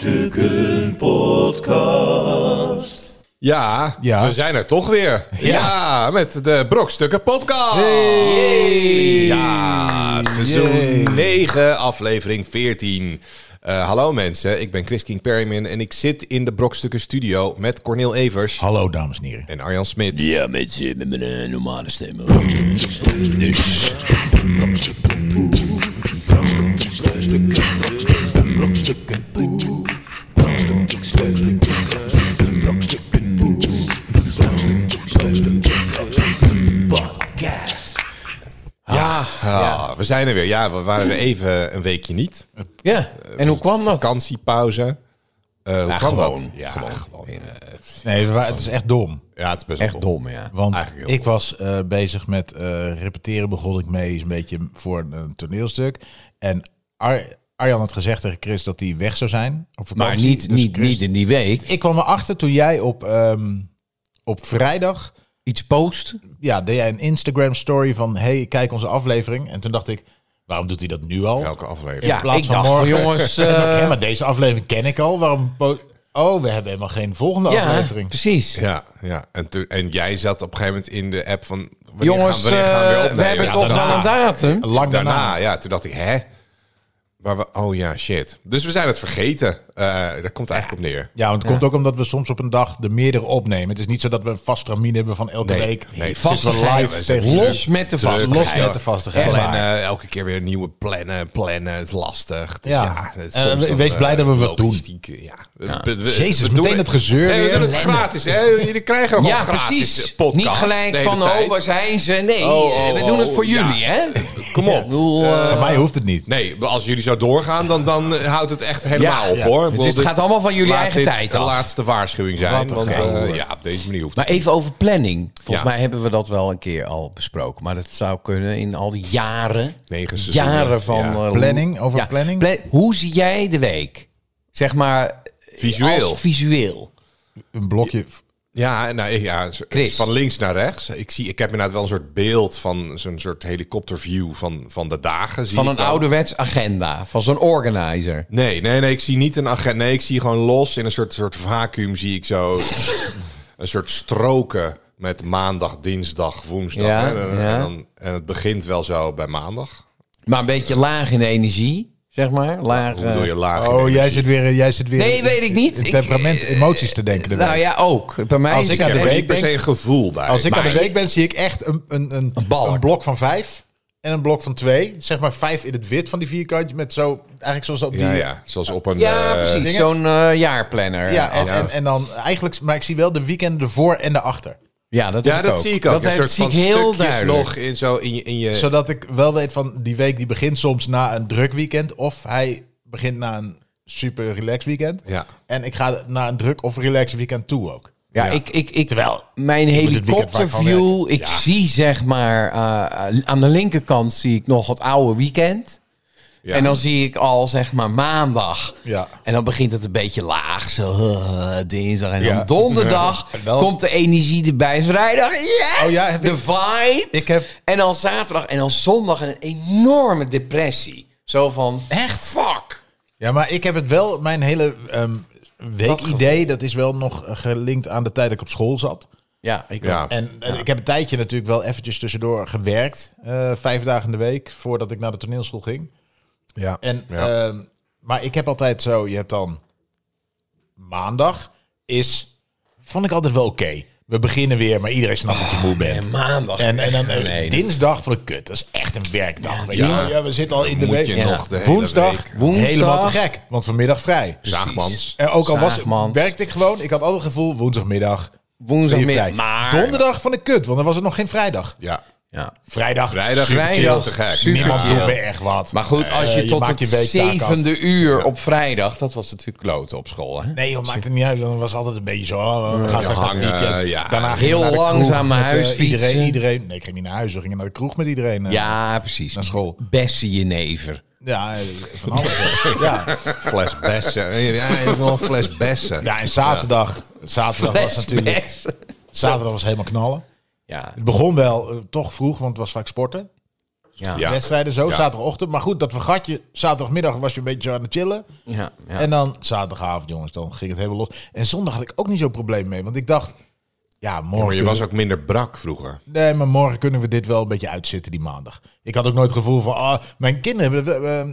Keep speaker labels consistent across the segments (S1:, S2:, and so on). S1: Brokstukken Podcast.
S2: Ja,
S3: Ja.
S2: we zijn er toch weer. Ja, met de Brokstukken Podcast. Ja, seizoen 9, aflevering 14. Eh, hallo mensen, ik ben Chris King Perryman en ik zit in de Brokstukken Studio met Cornel Evers
S3: Hallo dames en heren.
S2: en Arjan Smit.
S1: Ja, met, eh, met mijn eh, normale stem.
S4: Dus,
S2: Ja, ah, we zijn er weer. Ja, we waren er even een weekje niet.
S5: Ja,
S3: Eh,
S5: en
S3: dus
S5: hoe kwam dat?
S2: Vakantiepauze. Eh hoe
S5: Ja,
S2: kwam
S5: gewoon.
S2: dat? Ja, gewoon. eh,
S3: Nee, we wa- het is echt dom.
S2: ja, het is best wel
S5: Echt dom, ja.
S3: Want
S2: Eigenlijk heel
S3: ik was eh, bezig met eh, repeteren, begon ik mee, is een beetje voor een, een toneelstuk. En Ar- Arjan had gezegd tegen Chris dat hij weg zou zijn op vakantie.
S5: Maar niet,
S3: Dus
S5: niet,
S3: Chris-
S5: niet in die week.
S3: Ik kwam erachter toen jij op, ehm, op vrijdag,
S5: Iets post.
S3: ja, deed jij een Instagram story van, hey, kijk onze aflevering. En toen dacht ik, waarom doet hij dat nu al?
S2: elke aflevering.
S5: Ja,
S3: plaats
S5: ik
S3: van
S5: dacht
S3: morgen.
S5: van jongens...
S3: En toen dacht ik,
S5: eh,
S3: hé, maar deze aflevering ken ik al, waarom... po- Oh, we hebben helemaal geen volgende
S5: ja,
S3: aflevering.
S5: precies.
S2: Ja, ja. En, toen, en jij zat op een gegeven moment in de app van... Wanneer
S5: Jongens,
S2: gaan, wanneer gaan we
S5: eh,
S2: weer opnemen?
S5: we hebben
S2: Ja,
S5: toch
S2: daarna.
S5: wel een datum.
S3: Lang
S2: Daarna,
S3: daarna.
S2: ja. Toen dacht ik, hè? Maar we, oh ja, shit. Dus we zijn het vergeten. Eh dat komt eigenlijk op neer.
S3: Ja, want het komt ook omdat we soms op een dag de meerdere opnemen. Het is niet zo dat we een vast ramien hebben van elke
S2: Nee,
S3: week.
S2: nee,
S3: Zitten we
S5: vastigheid.
S3: live tegen
S2: Los
S3: elkaar.
S5: met de
S3: Los
S2: vastigheid.
S3: met de vastigheid.
S5: Echt
S3: Maar-
S2: Plannen, eh, elke keer weer nieuwe plannen, plannen. Het is lastig. Dus ja.
S3: Ja.
S2: het is
S3: En
S2: soms
S3: we-
S2: dan,
S3: wees
S2: eh,
S3: blij dat we wat doen.
S2: logistiek, eh, Ja. We- we- we-
S3: Jezus,
S2: we doen
S3: meteen het gezeur
S2: Nee, we
S3: weer.
S2: doen het gratis. Hè? Jullie krijgen gewoon
S5: Ja,
S2: gratis
S3: eh,
S5: precies.
S2: podcast.
S5: Niet gelijk
S2: de hele
S5: van,
S2: tijd.
S5: oh, waar zijn ze? Nee, eh,
S2: Oh, oh,
S5: we doen het voor
S2: oh, ja.
S5: jullie, hè?
S2: Kom op.
S5: bedoel, eh,
S3: Van mij hoeft het niet.
S2: Nee, maar als jullie zo doorgaan, dan, dan eh, houdt het echt helemaal
S5: Ja,
S2: op
S5: ja.
S2: hoor.
S5: Het
S2: Ik bedoel,
S5: is- het gaat allemaal van jullie
S2: laat
S5: eigen
S2: dit
S5: tijd
S2: de
S5: af.
S2: laatste waarschuwing zijn.
S3: Wat een
S2: Want, eh,
S3: gedoe.
S2: ja, op deze manier hoeft
S5: Maar
S2: het.
S5: even over planning. Volgens
S2: Ja.
S5: mij hebben we dat wel een keer al besproken. Maar dat zou kunnen in al die jaren.
S2: Negen seizoenen.
S5: Jaren van...
S2: Ja.
S5: eh, hoe-
S3: Planning, over planning?
S5: pla- hoe zie jij de week? Zeg maar... eh,
S2: Visueel.
S5: als visueel.
S3: Een blokje.
S2: Ja, nou, ik- ja zo-
S5: Chris.
S2: van links naar rechts. Ik, zie, ik heb inderdaad wel een soort beeld van zo'n soort helikopterview van, van de dagen. Zie
S5: Van
S2: ik
S5: een
S2: dan.
S5: ouderwets agenda. Van zo'n organizer.
S2: Nee, nee, nee, ik zie niet een agent. Nee, ik zie gewoon los in een soort, soort vacuüm zie ik zo een soort stroken met maandag, dinsdag, woensdag.
S5: Ja,
S2: hè. en,
S5: ja.
S2: dan, en het begint wel zo bij maandag.
S5: Maar een beetje laag in energie, zeg maar. Laag,
S2: Hoe bedoel je
S5: eh,
S2: laag? in
S3: Oh, jij
S2: energie?
S3: zit weer, jij zit weer
S5: Nee, weet ik niet.
S3: in
S5: Ik-
S3: temperament, emoties te denken. de
S5: nou
S3: week.
S5: ja, ook. Bij mij
S3: Als
S5: is
S3: ik
S5: het-
S3: aan
S2: Ik eh,
S3: de
S2: heb er
S3: week
S2: niet per se
S3: denk-
S2: een gevoel bij.
S3: Als ik aan de
S5: Maar-
S3: week ben, zie ik echt een, een, een,
S5: balk.
S3: een blok van vijf en een blok van twee. Zeg maar vijf in het wit van die vierkantje met zo, eigenlijk zoals op die...
S2: ja, ja, zoals op een...
S5: ja,
S2: eh,
S5: precies.
S3: dingen.
S5: Zo'n eh, jaarplanner.
S3: Ja, en,
S5: Ja,
S3: En, en dan eigenlijk, maar ik zie wel de weekenden ervoor en erachter.
S5: dat,
S2: Ja,
S5: heb
S2: dat
S5: ook.
S2: zie ik ook.
S5: Dat
S2: een
S5: heb-
S2: soort
S5: zie
S2: van
S5: ik heel
S2: stukjes
S5: duidelijk.
S2: nog in, zo in je... In je
S3: Zodat ik wel weet van die week die begint soms na een druk weekend. Of hij begint na een super relaxed weekend.
S2: Ja.
S3: En ik ga naar een druk of relaxed weekend toe ook.
S5: Ja,
S2: Ja.
S5: Ik, ik, ik, mijn
S3: het weekend waar ik van
S5: helikopterview,
S2: Ja.
S5: ik zie zeg maar, eh, aan de linkerkant zie ik nog het oude weekend.
S2: ja.
S5: En dan zie ik al zeg maar maandag.
S3: Ja.
S5: En dan begint het een beetje laag. Zo eh, dinsdag. En dan
S3: Ja.
S5: donderdag
S3: Ja. Wel-
S5: komt de energie erbij. Vrijdag, yes!
S3: Oh ja, heb
S5: de
S3: ik-
S5: vibe.
S3: Ik heb...
S5: En dan zaterdag en dan zondag een enorme depressie. Zo van, echt fuck.
S3: Ja, maar ik heb het wel, mijn hele ehm, weekidee, dat is wel nog gelinkt aan de tijd dat ik op school zat.
S5: Ja, ik
S2: Ja.
S5: ook.
S3: En eh, ik heb een tijdje natuurlijk wel eventjes tussendoor gewerkt. eh, vijf dagen in de week, voordat ik naar de toneelschool ging.
S2: ja.
S3: En,
S2: Ja.
S3: ehm, maar ik heb altijd zo, je hebt dan maandag is, vond ik altijd wel oké. We beginnen weer, maar iedereen snapt dat je moe bent.
S5: En maandag.
S3: En, en dan eh,
S5: Ah, nee,
S3: dinsdag van de kut, dat is echt een werkdag. weet je.
S2: ja.
S3: Ja, we zitten al in de
S2: Moet
S3: week.
S2: je
S5: Ja.
S2: nog de hele
S3: Woensdag,
S2: week-
S5: Woensdag.
S3: helemaal te gek, want vanmiddag vrij.
S2: Zaagmans.
S3: En ook al was,
S5: Zaagmans.
S3: werkte ik gewoon, ik had altijd het gevoel, woensdagmiddag ben je vrij.
S5: woensdagmiddag. Maar...
S3: Donderdag van de kut, want dan was het nog geen vrijdag.
S2: Ja.
S5: Ja.
S3: Vrijdag,
S2: Vrijdag,
S5: Vrijdag,
S2: super chill, te gek.
S5: super
S2: Niemand
S3: niemand
S5: chill.
S2: doet-
S3: doet me echt wat.
S5: Maar goed, als je
S3: Eh,
S5: tot
S3: maakt
S5: het
S3: weektaak af.
S5: zevende uur op vrijdag... Dat was natuurlijk kloten op school, hè?
S3: Nee, joh, maakt het niet uit. Dan was het altijd een beetje zo. Oh, we gaan
S2: Ja,
S3: straks naar het
S2: hangen,
S3: weekend.
S2: ja.
S3: Daarna gingen
S5: Heel
S3: we naar de
S5: langzaam
S3: kroeg
S5: naar
S3: met, eh,
S5: huis
S3: Iedereen,
S5: fietsen.
S3: iedereen. Nee, ik ging niet naar huis. We gingen naar de kroeg met iedereen. eh.
S5: Ja, precies.
S3: Naar school.
S5: Bessie jenever.
S3: Ja, eh, van alles. eh. ja.
S2: Fles bessen. Ja, hij heeft wel een fles bessen.
S3: ja, en zaterdag. Zaterdag was natuurlijk...
S5: Best.
S3: Zaterdag was helemaal knallen.
S5: Ja.
S3: Het begon wel eh, toch vroeg, want het was vaak sporten. Dus
S5: Ja.
S2: Ja.
S3: wedstrijden. Zo
S2: Ja.
S3: zaterdagochtend. Maar goed, dat vergat je. Zaterdagmiddag was je een beetje aan het chillen.
S5: Ja, ja.
S3: En dan zaterdagavond, jongens, dan ging het helemaal los. En zondag had ik ook niet zo'n probleem mee. Want ik dacht, ja, morgen...
S2: Maar je
S3: kunnen-
S2: was ook minder brak vroeger.
S3: Nee, maar morgen kunnen we dit wel een beetje uitzitten, die maandag. Ik had ook nooit het gevoel van, ah, mijn kinderen... hebben- eh, eh,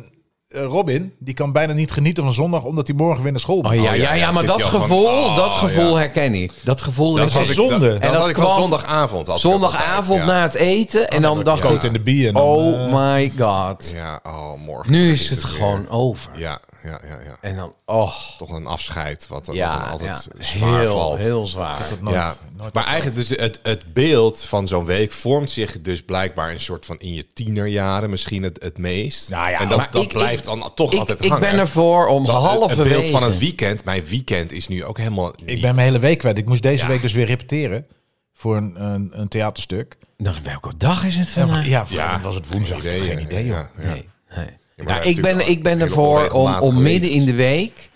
S3: eh, Robin, die kan bijna niet genieten van zondag... omdat hij morgen weer naar school moet. Ah,
S5: Oh, ja, ja,
S2: Oh, ja,
S5: ja,
S2: ja,
S5: maar
S2: zit
S5: dat
S2: hij al van-
S5: gevoel,
S2: Oh,
S5: dat gevoel
S2: ja.
S5: herken ik. Dat gevoel
S2: Dat
S5: is
S2: had ik-
S3: zonde.
S2: dat- Dat,
S5: En dat
S2: had ik wel
S5: kwam
S2: zondagavond. had ik dat
S5: zondagavond
S2: altijd, ja.
S5: na het eten. En dan dacht
S3: Groot in
S5: ik,
S3: de bier. en dan, eh,
S5: oh my god.
S2: Ja, oh, morgen.
S5: Nu is
S2: begint
S5: het
S2: weer.
S5: gewoon over.
S2: Ja, ja, ja, ja.
S5: En dan, oh.
S2: Toch een afscheid, wat, wat dan
S5: Ja,
S2: altijd
S5: ja.
S2: zwaar
S5: heel,
S2: valt.
S5: heel zwaar.
S3: nooit-
S2: ja.
S3: nooit-
S2: maar eigenlijk dus het, het beeld van zo'n week vormt zich dus blijkbaar een soort van in je tienerjaren misschien het, het meest.
S3: Nou ja,
S2: en dat,
S5: maar
S2: dat
S5: ik-
S2: blijft
S5: ik-
S2: dan toch
S5: Ik,
S2: altijd
S5: ik
S2: hangen.
S5: ben ervoor om
S2: Dat- het-
S5: halverwege...
S2: het beeld van een weekend, mijn weekend is nu ook helemaal
S3: Ik
S2: niet-
S3: ben mijn hele week kwijt. Ik moest deze
S2: Ja.
S3: week dus weer repeteren voor een, een, een theaterstuk.
S5: Nou, welke dag is het
S3: Ja, maar-
S5: vandaag?
S3: ja,
S2: Ja,
S3: was het woensdag.
S2: geen idee,
S3: geen idee,
S2: ja,
S3: joh.
S2: ja.
S5: Nee, nee.
S2: Ja, maar dat
S5: Nou, ik, ben,
S2: natuurlijk
S5: ik ben
S2: heel
S5: ervoor om,
S2: onregelmatig
S5: om
S2: geweest.
S5: midden in de week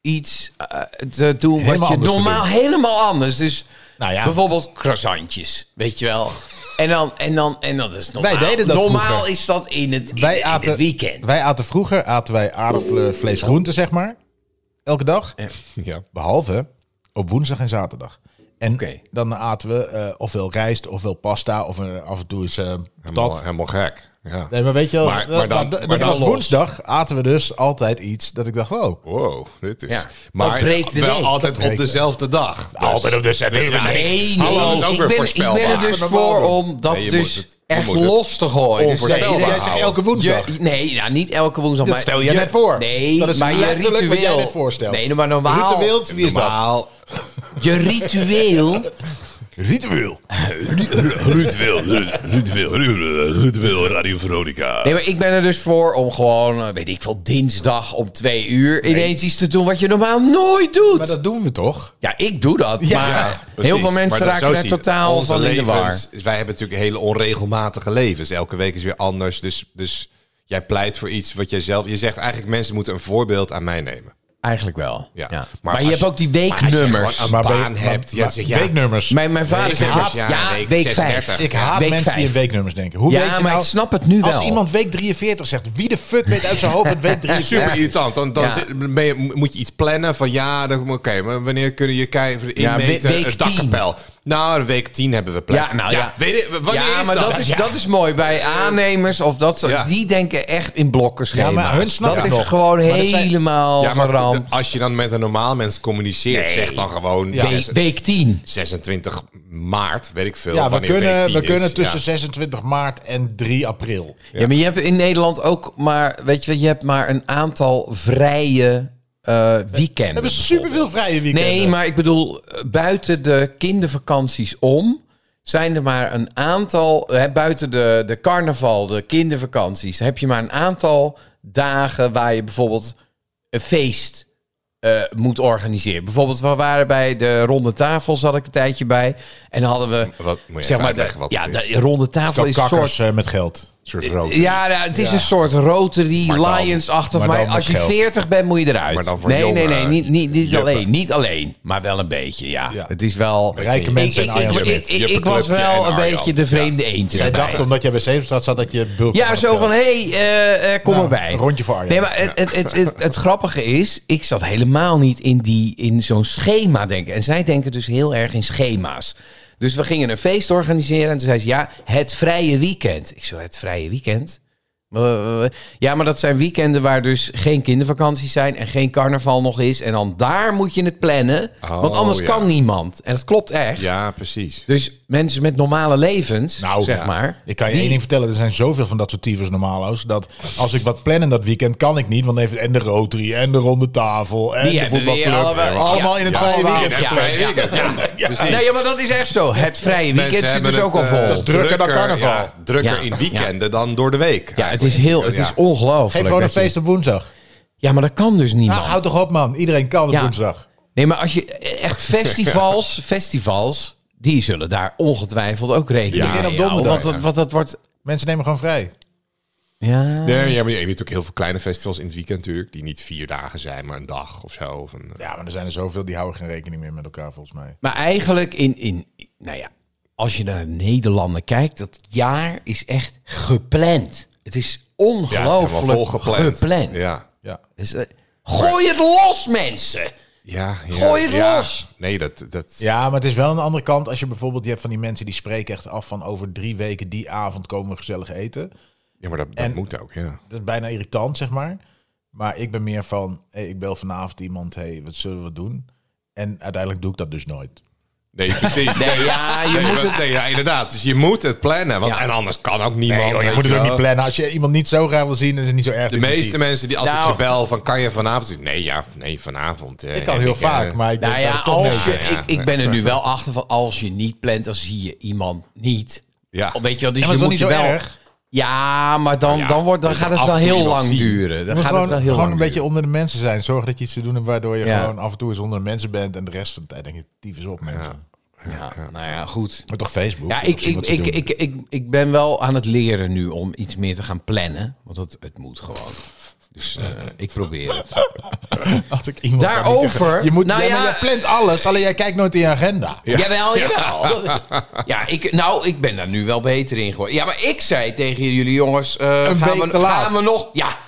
S5: iets eh, te doen
S3: Helemaal
S5: wat je
S3: anders te
S5: normaal helemaal anders. Dus
S3: Nou ja.
S5: bijvoorbeeld croissantjes, weet je wel. En dan, en dan, en dat is normaal.
S3: Wij deden dat
S5: normaal
S3: vroeger.
S5: is dat in het, in,
S3: Wij
S5: in
S3: aten,
S5: het weekend.
S3: wij aten vroeger aten wij aardappelen, vlees, groenten, zeg maar. Elke dag.
S2: Ja.
S3: Behalve op woensdag en zaterdag. En
S5: Oké.
S3: dan aten we eh, ofwel rijst, ofwel pasta, of eh, af en toe eens eh
S2: Helemaal,
S3: patat.
S2: helemaal gek. Ja.
S3: Nee, maar weet je wel,
S2: Maar-
S3: dat-
S2: maar dan-
S3: dat-
S2: maar
S3: dat
S2: dan
S3: was
S2: los.
S3: woensdag aten we dus altijd iets dat ik dacht, wow.
S2: Wow, dit is...
S5: Ja.
S2: Maar
S5: Dat breekt de
S2: wel
S5: week.
S2: altijd
S3: breekt
S2: op
S3: de-
S2: dezelfde dag. Dus-
S3: dezelfde
S2: Dus we zijn-
S5: Nee, nee.
S2: Hallo, dat is ook
S5: ik,
S2: weer
S5: ben, ik
S2: voorspelbaar.
S5: ben er dus
S3: Ja,
S5: voor
S3: normaal
S5: om dat
S2: Nee, je moet
S5: dus
S2: het- je
S5: echt
S2: moet het
S5: los te gooien. Dus
S2: onvoorspelbaar
S5: dat je-
S3: Jij zegt
S2: houden.
S3: elke woensdag.
S5: Je- nee, nou, niet elke woensdag.
S3: Dat
S5: maar
S3: stel jij
S5: je-
S3: net voor.
S5: Nee,
S3: Dat is
S5: maar je
S3: letterlijk
S5: ritueel.
S3: wat jij net voorstelt.
S5: Nee, maar normaal.
S3: Ritueel, wie is dat?
S2: Normaal.
S5: Je ritueel.
S3: Ritueel.
S1: Ruud Wil, Ruud Wil, Ruud Wil, Radio Veronica.
S5: Nee, maar ik ben er dus voor om gewoon, eh, weet ik veel, dinsdag om twee uur ineens iets te doen wat je normaal nooit doet.
S3: Maar dat doen we toch?
S5: Ja, ik doe dat.
S3: Ja,
S5: maar
S2: Precies.
S5: heel veel mensen
S2: Maar dat-
S5: raken
S2: zo
S5: er
S2: zie je het.
S5: totaal
S2: Onze
S5: van in de war.
S2: levens- Wij hebben natuurlijk hele onregelmatige levens. Elke week is weer anders. Dus, dus jij pleit voor iets wat jij zelf... Je zegt eigenlijk mensen moeten een voorbeeld aan mij nemen.
S5: Eigenlijk wel.
S2: Ja.
S5: Ja.
S2: Maar
S5: Maar,
S2: als
S5: je hebt
S2: je-
S5: ook die
S2: Maar
S5: weeknummers.
S2: als je gewoon
S3: Maar
S2: een baan
S3: weet-
S2: hebt...
S3: maar-
S2: ja,
S3: maar-
S2: zeg, ja,
S3: weeknummers.
S5: Mijn, mijn vader
S2: Weeknummers,
S5: zegt,
S2: ja,
S5: ja,
S2: week
S5: week, vijf.
S2: 36.
S3: Ik haat
S5: Week
S3: mensen die
S5: vijf.
S3: in weeknummers denken. Hoe
S5: Ja,
S3: weet je
S5: maar
S3: nou,
S5: ik snap het nu wel.
S3: Als iemand week 43 zegt, wie de fuck weet uit zijn hoofd het week 43?
S2: Super irritant. Dan, dan
S5: Ja.
S2: zit- ben je- moet je iets plannen van ja, dan- oké, maar wanneer kunnen je kijken
S5: Ja, we-
S2: inmeten
S5: week
S2: het dakkapel? Nou, week 10 hebben we plek.
S5: Ja, nou ja.
S2: weet je, wanneer
S5: ja,
S2: is
S5: maar dat, is, dat is mooi. Bij aannemers of dat soort,
S2: Ja.
S5: die denken echt in blokkenschema's.
S3: Ja, maar hun snappen
S5: dat
S3: het
S5: is
S3: nog.
S5: gewoon
S3: Maar dat zijn-
S5: helemaal
S2: Ja, maar
S5: ramp.
S2: d- als je dan met een normaal mens communiceert,
S5: Nee.
S2: zeg dan gewoon
S3: Ja.
S2: zes-
S5: Week- Week 10.
S2: 26 maart, weet ik veel.
S3: Ja, we
S2: wanneer week
S3: kunnen,
S2: 10
S3: we
S2: is.
S3: kunnen tussen
S2: Ja.
S3: 26 maart en 3 april.
S5: Ja. maar je hebt in Nederland ook maar, weet je, wel, je hebt maar een aantal vrije eh
S3: We
S5: weekenden.
S3: hebben superveel vrije weekenden.
S5: Nee, maar ik bedoel, eh, buiten de kindervakanties om zijn er maar een aantal, hè, buiten de, de carnaval, de kindervakanties, heb je maar een aantal dagen waar je bijvoorbeeld een feest eh, moet organiseren. Bijvoorbeeld, we waren bij de ronde tafel, zat ik een tijdje bij, en dan hadden we,
S2: Wat, moet je
S5: zeg maar, de,
S2: uitleggen wat
S5: ja,
S2: het is?
S5: de ronde tafel
S3: Zo'n
S5: is een soort
S3: kakkers eh, met geld.
S2: soort rood.
S5: ja, nou, het is een soort Rotary,
S2: Maar dan-
S5: Lions-achtig.
S3: maar dan
S5: Maar
S3: met
S5: als je
S3: geld.
S5: 40 bent, moet je eruit.
S2: Maar dan voor
S5: nee, nee,
S2: jonge
S5: nee, niet, niet, niet
S2: juppen.
S5: alleen. Niet alleen, maar wel een beetje, ja.
S3: Ja.
S5: Het is wel...
S3: Rijke
S5: Ik-
S3: mensen en
S5: ik,
S3: Arjan
S5: ik,
S3: Smit.
S5: ik, ik, ik
S2: Juppenclubje
S5: was
S2: en
S5: wel een
S2: Arjan.
S5: beetje de vreemde eentje.
S3: Zij
S5: daarbij.
S3: dachten omdat jij bij Zevenstraat zat dat je bulk
S5: Ja,
S3: had
S5: zo
S3: geld.
S5: van, hé, hey, eh, eh, kom
S3: Ja,
S5: erbij.
S3: Nou, een rondje voor Arjan.
S5: Nee, maar het, het, het, het, het grappige is, ik zat helemaal niet in, die- in zo'n schema denken. En zij denken dus heel erg in schema's. Dus we gingen een feest organiseren en toen zei ze, ja, het vrije weekend. Ik zo, het vrije weekend? Eh, Ja, maar dat zijn weekenden waar dus geen kindervakanties zijn en geen carnaval nog is. En dan daar moet je het plannen,
S2: Oh,
S5: want anders
S2: ja.
S5: kan niemand. En dat klopt echt.
S2: Ja, precies.
S5: Dus mensen met normale levens,
S3: Nou,
S5: zeg
S3: ja.
S5: maar.
S3: Ik kan je
S5: die-
S3: één ding vertellen, er zijn zoveel van dat soort tyfus normalo's. Dat als ik wat plan in dat weekend, kan ik niet. Want even en de Rotary, en de Ronde Tafel, en
S5: Die
S3: de
S5: hebben we
S3: voetbalclub.
S5: weer allemaal-
S3: allemaal
S5: ja,
S3: in het
S5: ja,
S3: vrije
S5: allemaal
S3: weekend.
S5: in het
S2: vrije
S3: Ja.
S2: weekend,
S3: Ja.
S2: Precies.
S5: Nee, ja, maar dat is echt zo. Het vrije weekend
S2: Mensen
S5: zit
S2: hebben
S5: dus ook al
S2: het,
S5: vol.
S2: eh,
S3: Dat is drukker dan carnaval.
S2: ja, drukker
S5: Ja.
S2: in weekenden dan door de week.
S5: ja, het is heel, het is
S2: Ja.
S5: ongelooflijk.
S3: Geef gewoon een
S5: dat je-
S3: feest op woensdag.
S5: Ja, maar dat kan dus niemand.
S3: Nou, houd toch op man, iedereen kan op
S5: Ja.
S3: woensdag.
S5: Nee, maar als je echt festivals, festivals, die zullen daar ongetwijfeld ook rekening
S3: beginnen op
S5: mee houden,
S3: donderdag.
S5: Want dat, want dat wordt,
S3: Mensen nemen gewoon vrij.
S5: ja.
S2: Nee, ja, maar je hebt natuurlijk heel veel kleine festivals in het weekend natuurlijk. Die niet vier dagen zijn, maar een dag of zo. Of een,
S3: Ja, maar er zijn er zoveel die houden geen rekening meer met elkaar volgens mij.
S5: Maar eigenlijk in, in, nou ja, als je naar de Nederlanden kijkt, dat jaar is echt gepland. Het is ongelooflijk gepland.
S2: Ja.
S3: Ja.
S5: Dus, eh, gooi het los, mensen!
S2: Ja, ja,
S5: Gooi het
S2: ja.
S5: los!
S2: Nee, dat, dat,
S3: Ja, maar het is wel aan de andere kant. Als je bijvoorbeeld, je hebt van die mensen die spreken echt af van over drie weken die avond komen we gezellig eten.
S2: ja, maar dat, dat
S3: En-
S2: moet ook, ja.
S3: Dat is bijna irritant, zeg maar. Maar ik ben meer van, hey, ik bel vanavond iemand, hey, wat zullen we doen? En uiteindelijk doe ik dat dus nooit.
S2: Nee, precies.
S5: Nee, ja, je
S2: Nee,
S5: moet
S2: maar-
S5: het...
S2: nee, ja, inderdaad. Dus je moet het plannen. Want,
S5: Ja.
S2: En anders kan ook niemand.
S3: Nee, joh, je
S2: weet
S3: moet het ook
S2: wel.
S3: niet plannen. Als je iemand niet zo graag wil zien, is het niet zo
S2: De
S3: erg. dat je hem
S2: meeste
S3: ziet.
S2: mensen die als ik
S5: Nou.
S2: ze bel van kan je vanavond? Nee, ja, nee, vanavond. eh,
S3: Ik kan
S2: heb
S3: heel vaak,
S2: eh,
S3: maar ik
S5: Nou
S3: denk dat
S5: ja,
S3: het toch
S5: als je,
S3: nee.
S2: Ja, ja.
S5: ik, ik ben er nu wel achter van als je niet plant, dan zie je iemand niet.
S2: Ja.
S5: Oh, Weet je wel, dus
S3: Ja,
S5: je
S3: maar
S5: moet
S3: het is
S5: je
S3: toch niet
S5: wel...
S3: zo erg?
S5: Ja, maar dan,
S2: ja,
S5: dan, wordt, dan
S2: moet
S5: gaat
S2: je
S5: het wel
S2: af en toe
S5: heel
S2: iemand
S5: lang
S2: zien.
S5: duren. Dan
S3: Je moet
S5: gaat
S3: gewoon,
S5: het wel heel
S3: gewoon
S5: lang
S3: een beetje
S5: duren.
S3: onder de mensen zijn. Zorg dat je iets te doen hebt waardoor je
S5: Ja.
S3: gewoon af en toe eens onder de mensen bent. En de rest van de tijd denk je, tief is op mensen.
S5: Ja, nou ja, goed.
S3: Maar toch Facebook?
S5: Ja,
S3: moet
S5: ik,
S3: zien
S5: ik,
S3: wat ze
S5: ik,
S3: doen.
S5: ik, ik, ik ben wel aan het leren nu om iets meer te gaan plannen. Want het, het moet gewoon. Dus eh, ik probeer het.
S3: Als ik iemand daar niet
S5: Daarover-
S3: tegen- Je moet,
S5: nou
S3: ja, maar
S5: ja.
S3: jij plant alles, alleen jij kijkt nooit in je agenda.
S5: Jawel, jawel. Dat is, ja, ik, nou, ik ben daar nu wel beter in geworden. Ja, maar ik zei tegen jullie jongens... eh,
S3: Een
S5: gaan
S3: week
S5: we,
S3: te laat.
S5: Gaan we nog... Ja,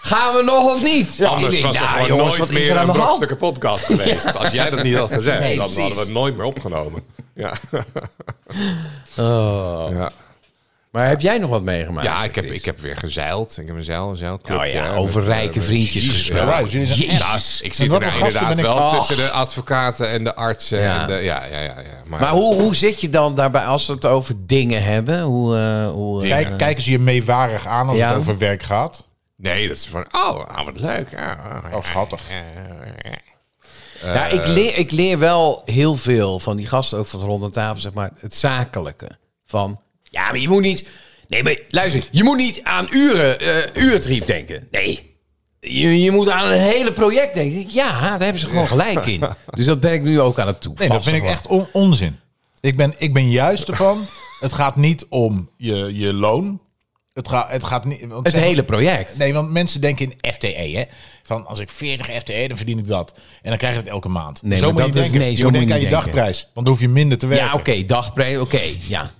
S5: gaan we nog of niet? Ik
S2: Anders
S5: denk,
S2: was er
S5: nou,
S2: gewoon
S5: jongens, wat
S2: nooit
S5: is er
S2: meer
S5: aan
S2: een
S5: de hand?
S2: brokstukken podcast geweest. Als jij dat niet had gezegd,
S5: Nee,
S2: dan
S5: precies.
S2: hadden we het nooit meer opgenomen. Ja,
S5: Oh.
S2: ja.
S5: Maar heb jij nog wat meegemaakt?
S2: ja ik, heb,
S5: Chris?
S2: ik heb weer gezeild. Ik heb eh, een zeil, een zeilclub.
S5: Nou ja, over rijke vriendjes
S3: Ja,
S5: gesproken.
S3: dus jullie zijn echt-
S5: Jezus.
S2: Ik
S3: Met
S2: zit er
S3: wat
S2: nou
S3: voor gasten
S2: inderdaad
S3: ben ik-
S2: wel
S5: Oh.
S2: tussen de advocaten en de artsen.
S5: Ja.
S2: Ja, en de, ja, ja, ja, ja. Maar,
S5: Maar hoe, hoe zit je dan daarbij als we het over dingen hebben? Hoe, eh, hoe, eh,
S3: Kijk, kijken ze je meewarig aan als
S5: Ja.
S3: het over werk gaat?
S2: Nee, dat is van, oh, ah, wat leuk. Ja, ah,
S3: Oh, schattig.
S2: ja, ja.
S5: nou,
S3: Eh,
S5: ik, leer, ik leer wel heel veel van die gasten, ook van de ronde tafel, zeg maar, het zakelijke. Van, ja, maar je moet niet... Nee, maar luister, je moet niet aan uren, eh urentarief denken. Nee. Je, je moet aan een hele project denken. Ja, daar hebben ze gewoon gelijk in. Dus dat ben ik nu ook aan het toe.
S3: Nee, dat vind ik echt on- onzin. Ik ben, ik ben juist ervan. het gaat niet om je, je loon. Het, gaat het gaat niet... want
S5: Het
S3: zeg maar-
S5: hele project.
S3: Nee, want mensen denken in FTE, hè. Van, als ik 40 FTE, E, dan verdien ik dat. En dan krijg je het elke maand.
S5: Nee,
S3: zo
S5: maar
S3: moet je
S5: dat is-
S3: denken.
S5: nee,
S3: je
S5: zo
S3: moet
S5: moet je
S3: denken aan je
S5: niet denken.
S3: dagprijs. Want dan hoef je minder te werken.
S5: Ja, oké, dagprijs, oké, ja.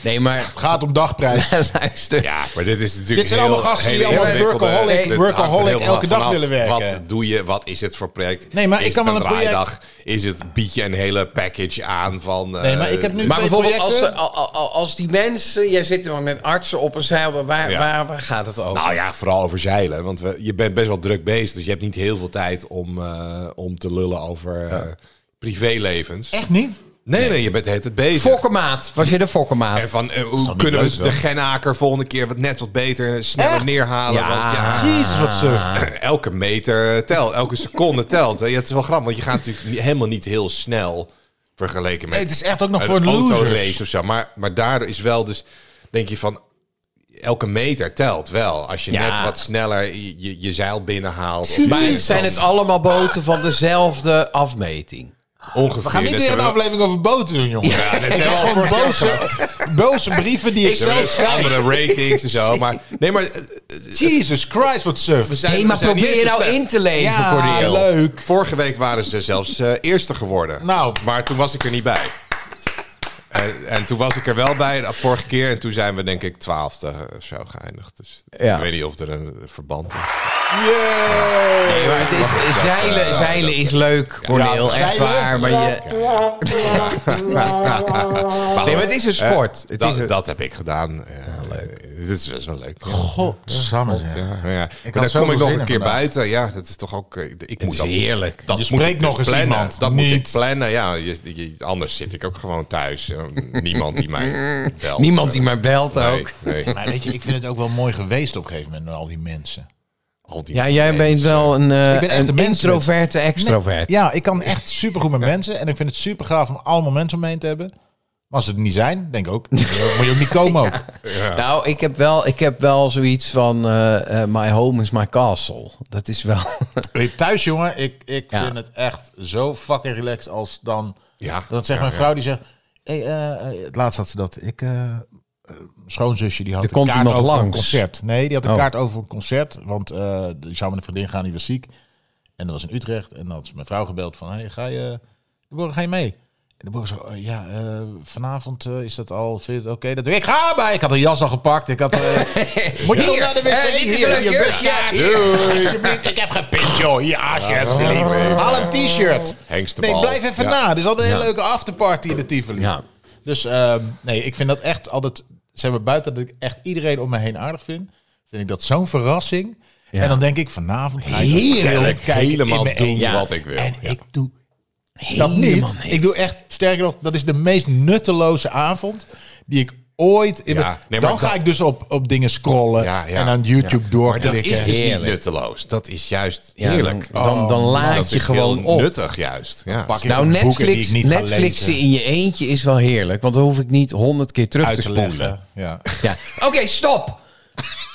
S5: Nee, maar...
S3: Het gaat om dagprijs.
S5: luister.
S2: Ja, maar dit is natuurlijk.
S3: Dit zijn
S2: heel-
S3: allemaal gasten die
S2: hele
S3: allemaal
S2: ingewikkelde- dit
S3: workaholic-
S2: hangt er
S3: workaholic
S2: helemaal
S3: elke dag
S2: vanaf.
S3: willen werken.
S2: Wat doe je? Wat is het voor project?
S3: Nee, maar
S2: is
S3: ik kan
S2: het
S3: wel een project-
S2: draaidag? Is het bied je een hele package aan van? eh,
S3: Nee, maar ik heb nu
S5: Maar
S3: twee
S5: bijvoorbeeld als, eh,
S3: projecten.
S5: al- al- al- als die mensen, jij zit er maar met artsen op een zeil, maar waar,
S2: Ja.
S5: waar, waar gaat het over?
S2: Nou ja, vooral over zeilen, want we, je bent best wel druk bezig, dus je hebt niet heel veel tijd om, eh, om te lullen over eh, privélevens.
S3: Echt niet?
S2: Nee, nee, je bent het bezig.
S5: Fokkermaat, was je de fokkermaat?
S2: En van eh,
S3: toch
S2: hoe
S3: niet
S2: kunnen
S3: leuk
S2: we de
S3: dan?
S2: Gennaker volgende keer wat net wat beter, eh, sneller
S3: Echt?
S2: neerhalen?
S5: Ja.
S2: Want ja,
S3: Jezus, wat
S5: Ah.
S3: surf.
S2: elke meter telt, elke seconde telt. hè. Ja, het is wel grappig, want je gaat natuurlijk niet- helemaal niet heel snel vergeleken met
S3: Nee, het is echt ook nog voor
S2: een
S3: losers.
S2: autorace of zo. Maar, maar daardoor is wel dus, denk je van, elke meter telt wel. Als je
S5: Ja.
S2: net wat sneller je, je, je zeil binnenhaalt. of
S5: maar
S2: je-
S5: het zijn het allemaal boten van dezelfde afmeting?
S2: ongeveer.
S3: We gaan niet
S2: net
S3: weer een
S2: zo-
S3: aflevering over boten doen, jongen.
S2: Ja, net hebben
S3: Ik
S2: we
S3: heb
S2: al
S3: gewoon
S2: voor-
S3: boze, boze brieven die ik
S2: Ze hebben
S3: zelf schrijf.
S2: andere ratings en zo. Maar, nee, maar eh,
S3: Jesus Christ, wat surf.
S2: we zijn
S5: Nee, maar
S2: we zijn niet
S5: probeer je
S2: eens zo
S5: nou
S2: slecht.
S5: in te leven,
S3: Ja,
S5: Cordeel.
S3: leuk.
S2: Vorige week waren ze zelfs eh eerste geworden.
S3: Nou.
S2: Maar toen was ik er niet bij. En, en toen was ik er wel bij de vorige keer. En toen zijn we denk ik twaalfde of zo geëindigd. Dus
S5: Ja.
S2: ik weet niet of er een verband is.
S5: Nee, maar het is,
S2: eh,
S5: zeilen, zeilen is leuk, Corneel,
S3: Ja,
S5: echt
S3: zeilen-
S5: waar. Maar, je,
S2: Maar
S5: nee,
S2: goed,
S5: maar het is een sport. Het
S2: Eh, dat,
S5: is een-
S2: dat heb ik gedaan. Eh, eh, Dit is best wel leuk.
S3: Godsamme
S2: Ja,
S3: zeg.
S2: ja. Maar
S3: had
S2: dan
S3: zoveel
S2: kom ik nog
S3: zin
S2: een
S3: in
S2: keer
S3: vandaag.
S2: buiten. Ja, dat is toch ook... eh, Ik, ik moet
S5: is
S2: dat-
S5: heerlijk.
S2: Dat
S3: Je
S2: moet
S3: spreekt
S2: ik dus
S3: nog eens
S2: plannen.
S3: iemand.
S2: Dat moet ik
S3: Niet.
S2: plannen, ja. Je, je- anders zit ik ook gewoon thuis. Eh, Niemand die mij belt. eh.
S5: Niemand die maar belt
S2: Nee,
S5: ook.
S2: nee.
S3: Maar weet je, ik vind het ook wel mooi geweest op een gegeven moment met al die mensen.
S2: Al die
S5: Ja, jij bent
S2: mensen.
S5: wel een, eh,
S3: Ik ben echt
S5: een
S3: een mens met-
S5: introverte extrovert.
S3: Ja, ik kan echt supergoed met mensen. En ik vind het super gaaf om allemaal mensen om me heen te hebben. Maar als ze er niet zijn, denk ik ook. Moet je ook niet komen ook.
S5: Nou, ik heb wel, ik heb wel zoiets van eh, eh, my home is my castle. Dat is wel.
S3: Hey, Thuis, jongen, ik, ik
S5: Ja.
S3: vind het echt zo fucking relaxed als dan...
S2: Ja.
S3: Dat zegt
S2: Ja,
S3: mijn
S2: ja.
S3: vrouw, die zegt... Hey, eh, eh, het laatst had ze dat. Ik, eh, eh, schoonzusje, die had
S5: Er
S3: een
S5: komt
S3: kaart
S5: iemand
S3: over een
S5: langs.
S3: concert. Nee, die had een
S5: Oh.
S3: kaart over een concert. Want eh, die zou met een vriendin gaan, die was ziek. En dat was in Utrecht. En dan had ze mijn vrouw gebeld van... Hey, ga je... Morgen ga je mee? En de boer zo, eh, ja, eh, vanavond eh, is dat al, vind je het oké? dat ik ga bij. Ik had een jas al gepakt. Ik had, eh, moet je nog naar de wc?
S5: eh, dit is
S3: Hier,
S5: een leuk
S3: je
S5: jurkje.
S3: buskaart. Hier, Alsjeblieft, ik heb gepint, joh. Hier,
S5: Oh.
S3: alsjeblieft. Haal een t-shirt. Nee,
S2: Hengstenbal.
S3: blijf even
S2: Ja.
S3: na. Er is altijd een
S5: Ja.
S3: hele leuke afterparty in de Tivoli.
S5: Ja.
S3: Dus ehm, nee, ik vind dat echt altijd... Zeg maar, buiten dat ik echt iedereen om me heen aardig vind... vind ik dat zo'n verrassing.
S5: Ja.
S3: En dan denk ik, vanavond ga ik
S5: Heerlijk.
S3: film kijken in
S2: Helemaal
S3: mijn
S2: doen
S3: eentje.
S2: wat ik wil.
S3: En ik doe dat
S5: Helemaal
S3: niet.
S5: niks.
S3: Ik doe echt, sterker nog, dat is de meest nutteloze avond die ik ooit... In
S2: Ja,
S3: mijn-
S2: nee, maar
S3: dan ga
S2: dat-
S3: ik dus op, op dingen scrollen
S2: Ja, ja.
S3: en aan YouTube
S2: Dat
S3: doorklikken.
S2: is dus niet
S5: Heerlijk.
S2: nutteloos. Dat is juist
S5: Ja,
S2: heerlijk.
S5: dan- dan- dan
S2: Oh,
S3: nou,
S5: laat
S2: dat
S5: je
S2: is
S5: gewoon
S2: heel
S5: op.
S2: nuttig juist. Ja.
S3: Pak ik
S5: Nou,
S3: een boeken die
S5: Netflix,
S3: ik niet ga
S5: Netflixen
S3: lezen,
S5: in je eentje is wel heerlijk. Want dan hoef ik niet honderd keer terug
S3: uit
S5: te
S3: te
S5: spoelen.
S3: leggen. Ja.
S5: Ja. Oké, stop.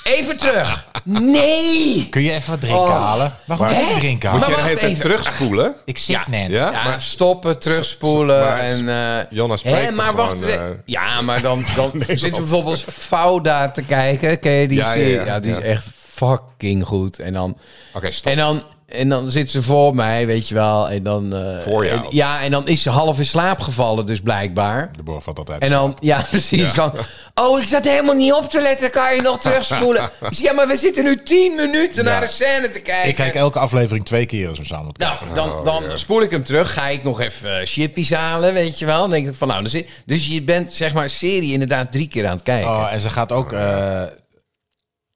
S5: Even terug. Nee.
S3: Kun je even wat drinken
S5: Oh.
S3: halen? Waarom
S5: Hè?
S3: kun je drinken
S5: Maar
S2: Moet
S3: halen?
S2: je de
S5: wacht
S2: hele tijd
S5: even.
S2: terugspoelen?
S3: Ik zit net.
S2: Ja?
S5: Ja, stoppen, terugspoelen
S2: maar-
S5: en... eh,
S2: Janna spreekt
S5: hè,
S2: er
S5: maar
S2: gewoon,
S5: wacht.
S2: eh,
S5: ja, maar dan, dan zitten we bijvoorbeeld Fouda te kijken. Ken je die
S2: Ja, ja,
S5: serie?
S2: ja,
S5: Ja, die
S2: ja.
S5: is echt fucking goed. En dan...
S2: Oké, stop.
S5: En dan, en dan zit ze voor mij, weet je wel. En dan, eh,
S2: Voor jou.
S5: en- ja, en dan is ze half in slaap gevallen, dus blijkbaar.
S3: De boer valt altijd.
S5: En dan, ja, precies. Van, oh, ik zat helemaal niet op te letten. Kan je nog terugspoelen? Ik zeg, Ja, maar we zitten nu tien minuten
S3: Ja.
S5: naar de scène te kijken.
S3: ik kijk elke aflevering twee keer als we samen moeten kijken.
S5: nou, dan, dan spoel ik hem terug. Ga ik nog even eh, chippies halen, weet je wel. Dan denk ik van, nou, dan zit- dus je bent zeg maar serie inderdaad drie keer aan het kijken.
S3: Oh, en ze gaat ook, eh,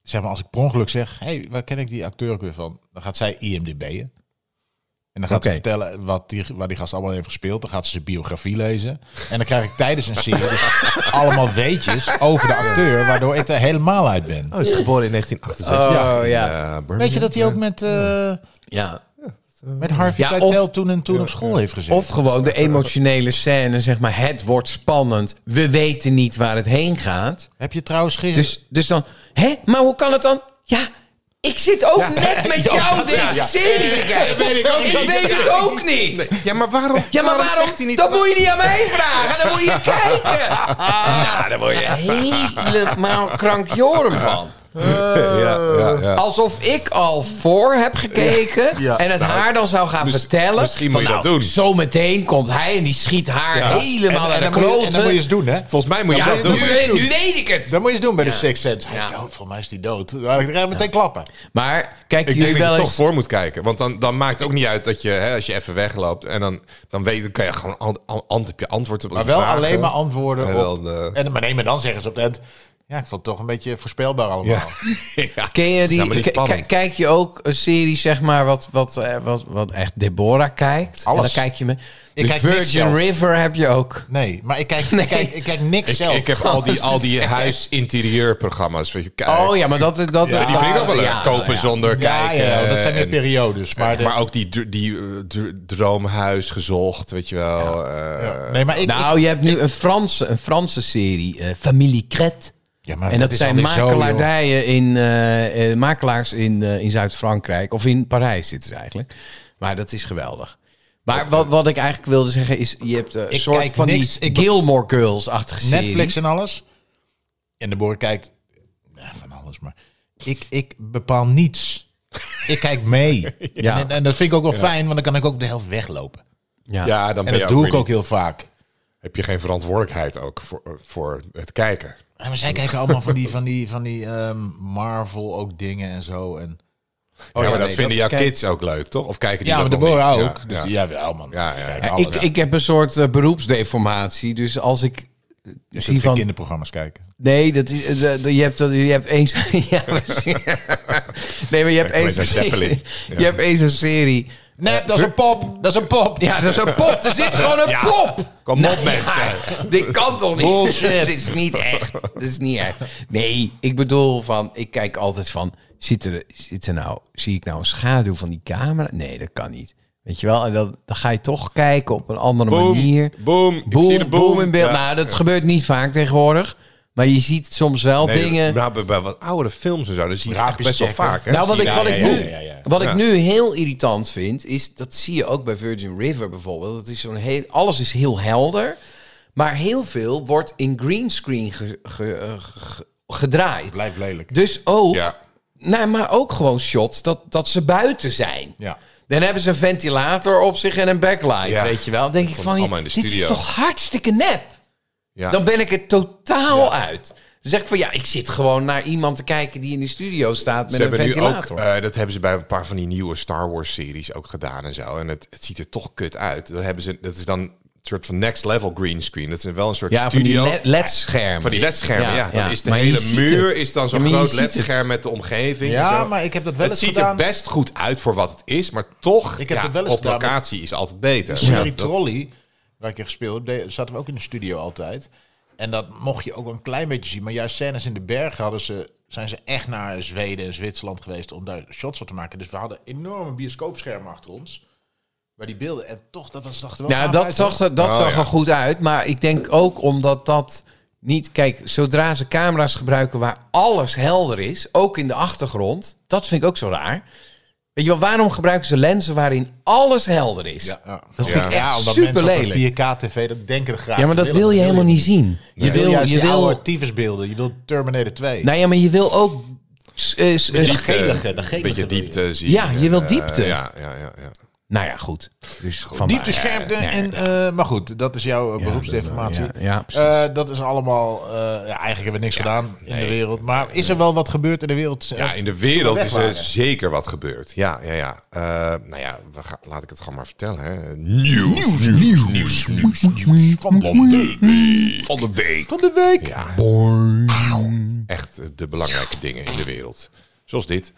S3: zeg maar, als ik per ongeluk zeg, hé, hey, waar ken ik die acteur ook weer van? Dan gaat zij IMDb'en. En dan gaat
S5: Oké.
S3: ze vertellen wat die, waar die gast allemaal heeft gespeeld. Dan gaat ze zijn biografie lezen. En dan krijg ik tijdens een serie dus allemaal weetjes over de acteur, waardoor ik er helemaal uit ben.
S2: Oh, hij is geboren in 1968.
S5: Oh, ja.
S2: Eh,
S3: Weet je dat hij ook met, eh,
S5: ja.
S3: met Harvey
S5: Ja, of-
S3: Keitel toen en toen op school heeft gezeten?
S5: Of gewoon de emotionele scène, zeg maar. Het wordt spannend. We weten niet waar het heen gaat.
S3: Heb je trouwens gisteren...
S5: Dus, dus dan, hè? Maar hoe kan het dan? Ja, ik zit ook net met jou deze serie te kijken.
S2: weet ik ook
S5: ik
S2: niet.
S5: weet het ook niet.
S2: Ja, maar waarom?
S5: Ja, maar waarom?
S2: zegt hij niet
S5: dat moet je niet aan mij vragen. Dan moet je kijken. nou, daar word je helemaal krankjoren van.
S2: ja, ja, ja.
S5: Alsof ik al voor heb gekeken
S3: Ja.
S5: en het haar dan zou gaan vertellen.
S2: Nou, misschien
S5: van,
S2: moet je dat
S5: nou,
S2: doen.
S5: Zometeen komt hij en die schiet haar helemaal
S3: en, en,
S5: naar
S3: dan
S5: de
S3: moet je, en dan moet je
S5: kloten.
S3: eens doen, hè?
S2: Volgens mij moet je
S5: Ja,
S2: dat
S5: nu,
S2: doen.
S5: weet- nu weet ik het.
S3: Dat moet je eens doen bij de Sixth Sense. Hij
S5: Ja.
S3: is dood, voor mij is hij dood. Dan krijg je meteen klappen.
S5: Maar kijken
S2: Ik denk
S5: jullie
S2: dat
S5: wel
S2: je toch
S5: eens...
S2: voor moet kijken. Want dan, dan maakt het ook niet uit dat je, hè, als je even wegloopt, en dan, dan weet, dan kan je gewoon ant, ant- ant- op je antwoord op
S3: Maar wel alleen maar antwoorden
S2: En
S3: op...
S2: dan, eh,
S3: en, maar nee, maar dan zeggen ze op het eind, Ja, ik vond het toch een beetje voorspelbaar allemaal.
S2: Ja.
S5: Ken je die,
S2: Zeg maar, die is
S5: k- k-
S2: spannend.
S5: kijk je ook een serie, zeg maar, wat, wat, eh, wat, wat echt Deborah kijkt? En
S3: Alles.
S5: dan kijk je me. De
S3: kijk niks
S5: Virgin
S3: zelf.
S5: River heb je ook.
S3: Nee, maar ik kijk,
S5: Nee.
S3: ik kijk, ik kijk niks
S2: Ik,
S3: zelf.
S2: ik heb al die, al die huisinterieurprogramma's. Weet je, kijk,
S5: Oh ja, maar dat... dat
S3: Ja,
S2: Die vind ik ook wel leuk.
S5: ja,
S2: Kopen
S5: ja.
S2: zonder
S3: ja,
S2: kijken.
S3: ja, dat zijn weer
S2: en-
S3: periodes. Maar, de-
S2: maar ook die, dr- die eh, dr- droomhuis gezocht, weet je wel. eh,
S3: ja. nee, maar ik... ik-
S5: Nou, je hebt nu een Franse, een Franse serie, eh Familie Kret.
S3: ja, maar
S5: En dat,
S3: is
S5: zijn
S3: alweer zo, joh.
S5: makelaardijen in, eh, eh, makelaars in, eh, in Zuid-Frankrijk. Of in Parijs zitten ze eigenlijk. Maar dat is geweldig. Maar wat, wat ik eigenlijk wilde zeggen is... Je hebt eh, een
S3: Ik
S5: soort
S3: kijk
S5: van
S3: niks.
S5: die
S3: Ik-
S5: Gilmore Girls-achtige series.
S3: Netflix en alles. En de boer kijkt... Ja, van alles, maar... Ik, ik bepaal niets. Ik kijk mee.
S5: Ja.
S3: en, en dat vind ik ook wel fijn, want dan kan ik ook de helft weglopen.
S5: Ja.
S2: Ja, dan ben
S3: En
S2: je
S3: dat doe
S2: weer
S3: ik ook
S2: niet-
S3: heel vaak.
S2: Heb je geen verantwoordelijkheid ook voor, voor het kijken?
S3: Ja, maar zij kijken allemaal van die, van die, van die ehm, Marvel ook dingen en zo. En...
S2: Oh, ja, maar
S5: ja,
S2: dat
S5: nee,
S2: vinden
S5: dat
S2: jouw
S5: kijk-
S2: kids ook leuk, toch? Of kijken die
S3: Ja, maar
S2: dat
S3: de
S2: nog
S3: boer
S2: niet?
S3: ook.
S2: Ja,
S3: Dus,
S2: ja.
S3: ja, wel man.
S2: Ja, ja, ja.
S3: Kijk,
S2: Ja,
S3: alles.
S5: Ik, ik heb een soort eh, beroepsdeformatie. Dus als ik
S3: Je
S5: zie
S3: zit geen
S5: van...
S3: kinderprogramma's kijken.
S5: Nee, dat is, eh, de- de- je, hebt, dat- je hebt eens... ja, precies. nee, maar je hebt,
S2: Ik weet
S5: eens een,
S2: dat
S5: serie,
S2: Zeppelin.
S5: je hebt eens een serie...
S3: Nee, dat is een pop. Dat is een pop.
S5: Ja, dat is een pop. Er zit gewoon een
S2: Ja.
S5: pop.
S2: Kom op, mensen.
S5: Dit kan toch niet? Dit is niet echt. Dit is niet echt. Nee, ik bedoel van, ik kijk altijd van, zit er, zit er nou, zie ik nou een schaduw van die camera? Nee, dat kan niet. Weet je wel, en dan, dan ga je toch kijken op een andere manier.
S2: Boom, boom, ik zie de
S5: Boom,
S2: boom.
S5: boom in beeld.
S2: Ja.
S5: Nou, dat gebeurt niet vaak tegenwoordig. Maar je ziet soms wel
S2: Nee,
S5: dingen.
S2: Nou, bij, bij wat oudere films en zo, dat zie je echt
S3: Raapjes
S2: best wel
S3: checken.
S2: vaak. Hè?
S5: Nou, wat
S2: Zie
S5: ik,
S2: je
S5: wat
S2: daar-
S5: ik,
S3: ja,
S5: nu,
S3: ja, ja, ja.
S5: Wat ik
S2: Ja.
S5: nu heel irritant vind, is dat zie je ook bij Virgin River bijvoorbeeld. Dat is zo'n heel, alles is heel helder, maar heel veel wordt in greenscreen ge- ge- eh, ge- gedraaid.
S3: Blijf lelijk.
S5: Dus ook,
S2: Ja.
S5: nou, maar ook gewoon shots dat, dat ze buiten zijn.
S3: Ja.
S5: Dan hebben ze een ventilator op zich en een backlight,
S2: Ja.
S5: weet je wel. Dan denk ik
S2: Komt
S5: van,
S2: allemaal in de
S5: dit is
S2: studio.
S5: toch hartstikke nep?
S2: Ja.
S5: Dan ben ik er totaal uit. Dan zeg ik van, ja, ik zit gewoon naar iemand te kijken die in de studio staat met
S2: Ze
S5: een
S2: hebben nu ook,
S5: ventilator.
S2: eh, dat hebben ze bij een paar van die nieuwe Star Wars series ook gedaan en zo. En het, het ziet er toch kut uit. Dan hebben ze, dat is dan een soort van next level green screen. Dat is wel een soort
S5: ja, van die
S2: studio.
S5: le- LED-schermen.
S2: Van die ledschermen, ja.
S5: Ja,
S2: Dan
S5: ja.
S2: is de
S5: Maar je
S2: hele
S5: ziet
S2: muur
S5: het.
S2: is dan zo'n
S5: Ja, maar je
S2: groot
S5: ziet het.
S2: ledscherm met de omgeving. en
S3: Ja,
S2: zo.
S3: maar ik heb dat wel
S2: het
S3: eens
S2: ziet
S3: gedaan.
S2: er best goed uit voor wat het is, maar toch
S3: Ik heb
S2: ja,
S3: dat wel eens
S2: op
S3: gedaan, maar-
S2: locatie is altijd beter.
S3: Sherry
S2: Ja, dat-
S3: Trolley, waar ik in gespeeld heb, deed- zaten we ook in de studio altijd. En dat mocht je ook wel een klein beetje zien. Maar juist scènes in de bergen hadden ze, zijn ze echt naar Zweden en Zwitserland geweest om daar shots van te maken. Dus we hadden enorme bioscoopschermen achter ons. Waar die beelden. En toch, dat was dacht wel.
S5: Nou,
S3: gaaf
S5: dat
S3: uit,
S5: zag,
S3: hoor.
S5: er, dat
S2: Oh,
S5: zag
S2: ja.
S5: er goed uit. Maar ik denk ook omdat dat niet... Kijk, zodra ze camera's gebruiken waar alles helder is... ook in de achtergrond, dat vind ik ook zo raar. Weet je wel, waarom gebruiken ze lenzen waarin alles helder is?
S3: Ja, ja.
S5: Dat vind ik
S2: Ja,
S5: echt
S3: omdat
S5: super
S3: mensen op
S5: lelijk.
S3: een 4K tv dat denken er graag.
S5: Ja, maar dat wil je helemaal niet zien. Je wil, je wil,
S3: oude tyfusbeelden. Je wil Terminator 2.
S5: nou ja, maar je wil ook... s- eh, s- eh,
S3: dat
S5: s-
S3: gelige, dat
S2: Een
S3: gelige
S2: beetje
S3: wil je.
S2: diepte zien.
S5: Ja, je wil
S2: Eh,
S5: diepte.
S2: ja, ja, ja, ja.
S5: nou ja, goed. Dus van
S3: Diepte, scherpte
S5: Ja, ja,
S3: en... eh, maar goed, dat is jouw eh, beroepsdeformatie.
S5: Ja, ja, precies.
S3: Eh, dat is allemaal... eh, ja, eigenlijk hebben we niks gedaan in de wereld. Maar is er wel wat gebeurd in de wereld? Eh,
S2: Ja, in de wereld
S3: weg
S2: is er
S3: waren.
S2: zeker wat gebeurd. Ja, ja, ja. Eh, nou ja, we gaan, laat ik het gewoon maar vertellen. Hè. Nieuws, nieuws, nieuws, nieuws, van de week. Van de week.
S3: Van de week.
S2: Ja, echt eh, de belangrijke dingen in de wereld. Zoals dit.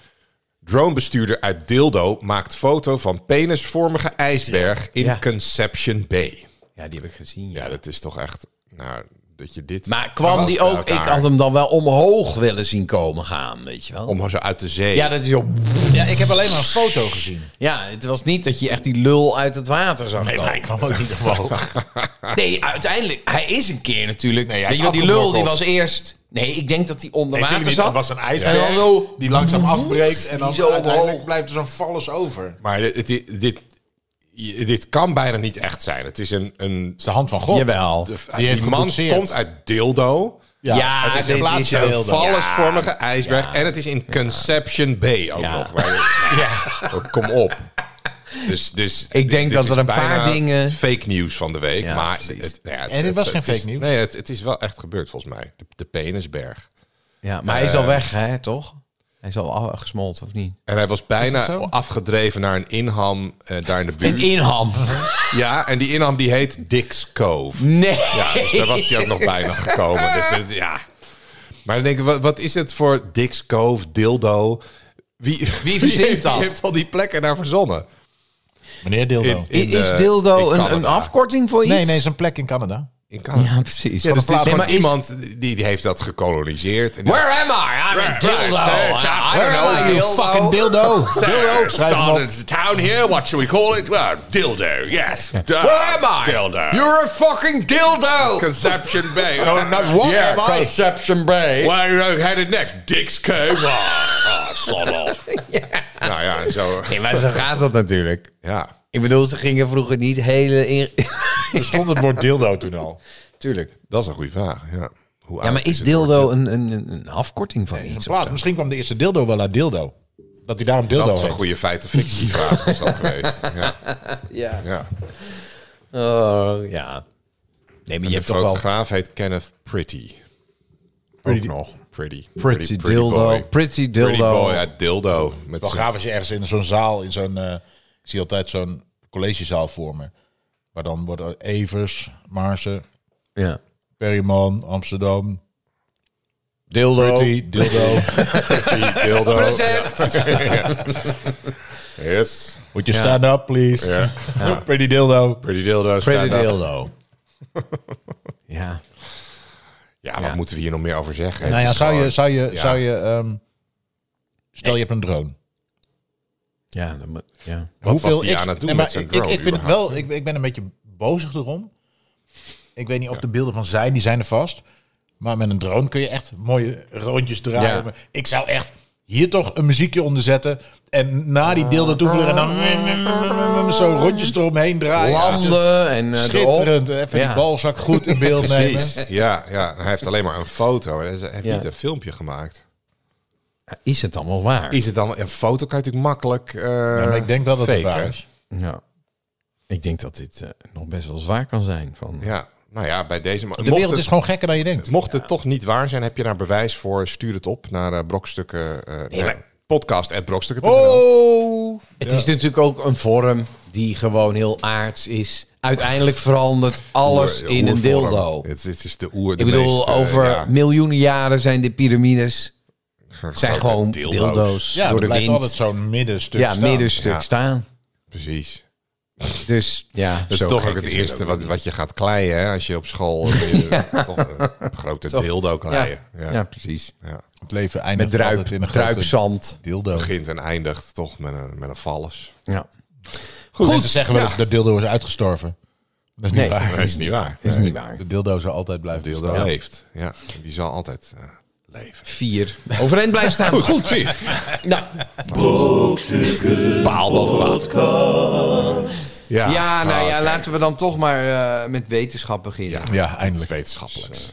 S2: Dronebestuurder uit Dildo maakt foto van penisvormige ijsberg in
S5: Ja.
S2: Conception Bay.
S5: ja, die heb ik gezien.
S2: Ja, dat is toch echt... Nou, dat je dit...
S5: Maar kwam die ook... Ik had hem dan wel omhoog willen zien komen gaan, weet je wel.
S2: Om zo uit de zee.
S5: Ja, dat is ook...
S3: Ja, ik heb alleen maar een foto gezien.
S5: Ja, het was niet dat je echt die lul uit het water zag komen.
S3: ik kwam ook niet omhoog.
S5: Nee, uiteindelijk... Hij is een keer natuurlijk...
S3: hij
S5: weet
S3: is
S5: je wel, die lul die was
S3: afgemokkeld.
S5: eerst... Nee, ik denk dat die onder water
S3: Natuurlijk niet.
S5: zat.
S3: Het was een
S5: En dan
S3: ijsberg
S5: zo-
S3: die langzaam afbreekt. En dan
S5: Die zo
S3: uiteindelijk
S5: omhoog.
S3: blijft er zo'n vallus over. Het
S2: Maar dit, dit, dit, dit kan bijna niet echt zijn. Het is een... een
S3: is de hand van God.
S5: Jawel.
S2: de,
S3: Die heeft
S2: man
S3: gepotseerd.
S2: komt uit Dildo.
S5: Ja,
S2: het Ah, is
S5: dit
S2: in plaats
S5: heel
S2: van
S5: dom.
S2: een vallusvormige
S5: Ja.
S2: ijsberg. En het is in Conception Bay ook
S5: Ja.
S2: nog. Waar- Oh, Kom op. Dus, dus
S5: Ik denk dat
S2: is
S5: er een paar
S2: bijna
S5: dingen-
S2: fake nieuws van de week.
S5: Ja,
S2: maar
S5: precies.
S2: het, nou ja, het-
S3: En dit
S2: het-
S3: was
S2: het
S3: geen
S2: is-
S3: fake nieuws.
S2: Nee, het, het is wel echt gebeurd volgens mij. De, de penisberg.
S5: Ja,
S2: Eh,
S5: maar hij is al weg, hè, toch? Hij is al afgesmolten, of niet?
S2: En hij was bijna
S3: zo?
S2: afgedreven naar een inham eh, daar in de buurt.
S5: Een inham.
S2: Ja, en die inham die heet Dick's Cove.
S5: Nee.
S2: Ja, dus daar was hij ook nog bijna gekomen. Dus dit- ja. Maar dan denk ik, wat, wat is het voor Dick's Cove, Dildo? Wie,
S5: verzint
S2: heeft,
S5: dat?
S2: Wie heeft al die plekken daar verzonnen?
S3: Meneer Dildo.
S2: In- in
S5: is
S2: de- in
S5: dildo een, een
S2: Canada.
S5: afkorting voor iets?
S3: nee, nee, is een plek in Canada.
S2: In Canada.
S5: Ja, precies.
S2: Ja, dus het is
S5: Nee,
S2: gewoon
S5: maar is-
S2: iemand die, die heeft dat gekoloniseerd. En die-
S5: Where am I? I'm a
S2: Right,
S5: dildo.
S2: right,
S5: I
S2: exactly.
S5: am a
S2: Where are you,
S5: dildo.
S3: Fucking dildo.
S2: Dildo,
S3: schrijf hem op.
S2: started town here. What should we call it? Well, dildo, yes. Duh,
S5: Where am I?
S2: Dildo.
S5: You're a fucking dildo.
S2: Conception Bay. Oh, no, what
S5: yeah,
S2: am I?
S5: Conception Bay.
S2: Where are you headed next? Dick's Cove. Ah, ah, son of. Nou ja, en zo.
S5: Nee, maar zo gaat dat natuurlijk.
S2: Ja.
S5: Ik bedoel, ze gingen vroeger niet hele... in-
S3: Er stond het woord dildo toen al.
S5: Tuurlijk.
S2: Dat is een goede vraag. Ja, Hoe
S5: Ja, maar is dildo een, een, een- een afkorting van
S3: In
S5: iets? of
S3: plaats.
S5: zo?
S3: Misschien kwam de eerste dildo wel uit dildo. Dat hij daarom dildo
S2: Dat is een
S3: heet.
S2: goede feiten-fictie-vraag was dat geweest. Ja,
S5: Ja.
S2: ja.
S5: Oh, ja. Nee, maar je
S2: De
S5: hebt toch wel...
S2: fotograaf heet Kenneth Pretty.
S3: Pretty-
S2: Ook nog. Pretty.
S5: Pretty, dildo.
S2: boy.
S5: Pretty dildo.
S2: Pretty boy uit dildo. Met
S3: Wel
S2: z'n-
S3: gaaf als je ergens in zo'n zaal, in zo'n, eh, ik zie altijd zo'n collegezaal voor me. Waar dan worden Evers, Maarsen,
S5: Ja.
S3: Perryman, Amsterdam,
S5: Dildo.
S3: Pretty, Dildo.
S2: Pretty dildo.
S5: Present.
S2: Yes.
S3: Would you
S5: Ja.
S3: stand up, please? Pretty Dildo.
S2: Pretty dildo. stand
S5: Pretty
S2: up.
S5: dildo. Ja.
S2: Ja, wat
S5: Ja.
S2: moeten we hier nog meer over zeggen?
S3: Nou
S2: Het
S3: ja,
S2: is
S3: zou je,
S2: gewoon-
S3: zou je,
S2: ja.
S3: zou je ehm, eh, stel je hebt een drone.
S5: Ja, dat moet... Ja.
S2: Wat was die
S3: ex-
S2: aan het doen
S3: Nee, maar
S2: met zijn
S3: ik-
S2: drone?
S3: Ik, ik vind het
S2: überhaupt?
S3: wel, ik, ik ben een beetje bozig erom. Ik weet niet of de beelden van zijn, die zijn er vast. Maar met een drone kun je echt mooie rondjes draaien.
S5: Ja.
S3: Maar Ik zou echt hier toch een muziekje onder zetten. En na die deel naartoe vliegen en dan zo rondjes eromheen draaien.
S5: Landen en eh, erop.
S3: Schitterend. Even
S5: Ja.
S3: die balzak goed in beeld nemen.
S2: Precies. Ja, ja, hij heeft alleen maar een foto. Hij heeft
S5: Ja.
S2: niet een filmpje gemaakt.
S5: Ja, Is het dan wel waar?
S2: Is het dan een foto? Kan je natuurlijk makkelijk. eh,
S3: maar ik denk wel dat het
S2: faken.
S3: waar is.
S5: Ja. Ik denk dat dit eh, nog best wel zwaar kan zijn. Van,
S2: Ja, nou ja, bij deze.
S3: De
S2: mocht
S3: wereld
S2: het-
S3: is gewoon gekker dan je denkt.
S2: Mocht het toch niet waar zijn, heb je daar bewijs voor? Stuur het op naar eh, brokstukken. eh naar podcast@brokstukken.nl.
S3: Oh!
S5: Het is natuurlijk ook een vorm die gewoon heel aards is. Uiteindelijk verandert alles
S2: Oer-
S5: in een
S2: oervorm.
S5: dildo.
S2: Het, het is de oer. de
S5: Ik bedoel,
S2: meest, eh,
S5: over
S2: ja,
S5: miljoenen jaren zijn de piramides zijn
S2: grote
S5: gewoon dildo's,
S2: dildo's.
S3: Ja,
S5: door
S3: er
S5: de
S3: blijft
S5: wind.
S3: altijd zo'n middenstuk
S5: ja,
S3: staan.
S5: middenstuk
S2: Ja.
S5: staan.
S2: Precies.
S5: Dus ja,
S2: Dat is toch ook het eerste wat, wat je gaat kleien hè? als je op school eh, toch een grote dildo kleien. Ja.
S5: ja. ja, precies.
S2: ja.
S3: Het leven eindigt
S5: Met druip,
S3: altijd in een grote
S5: druipzand.
S3: dildo.
S2: Begint en eindigt toch met een, met een vallus.
S5: Ja.
S3: Goed.
S5: Goed.
S3: Mensen zeggen wel eens dat dildo is uitgestorven. Dat is niet
S5: Nee.
S3: waar.
S2: Dat is niet waar.
S5: Is niet waar.
S3: De dildo zal altijd blijven
S2: De dildo
S3: bestaan.
S2: leeft. Ja, die zal altijd eh, leven.
S5: Vier. Overeind blijven staan. Goed.
S2: weer.
S5: Nou,
S2: Paal boven water. Ja, Ah,
S5: ja, nou ja,
S2: oké.
S5: laten we dan toch maar eh, met wetenschap beginnen.
S3: Ja,
S2: Het
S3: eindelijk.
S2: wetenschappelijks.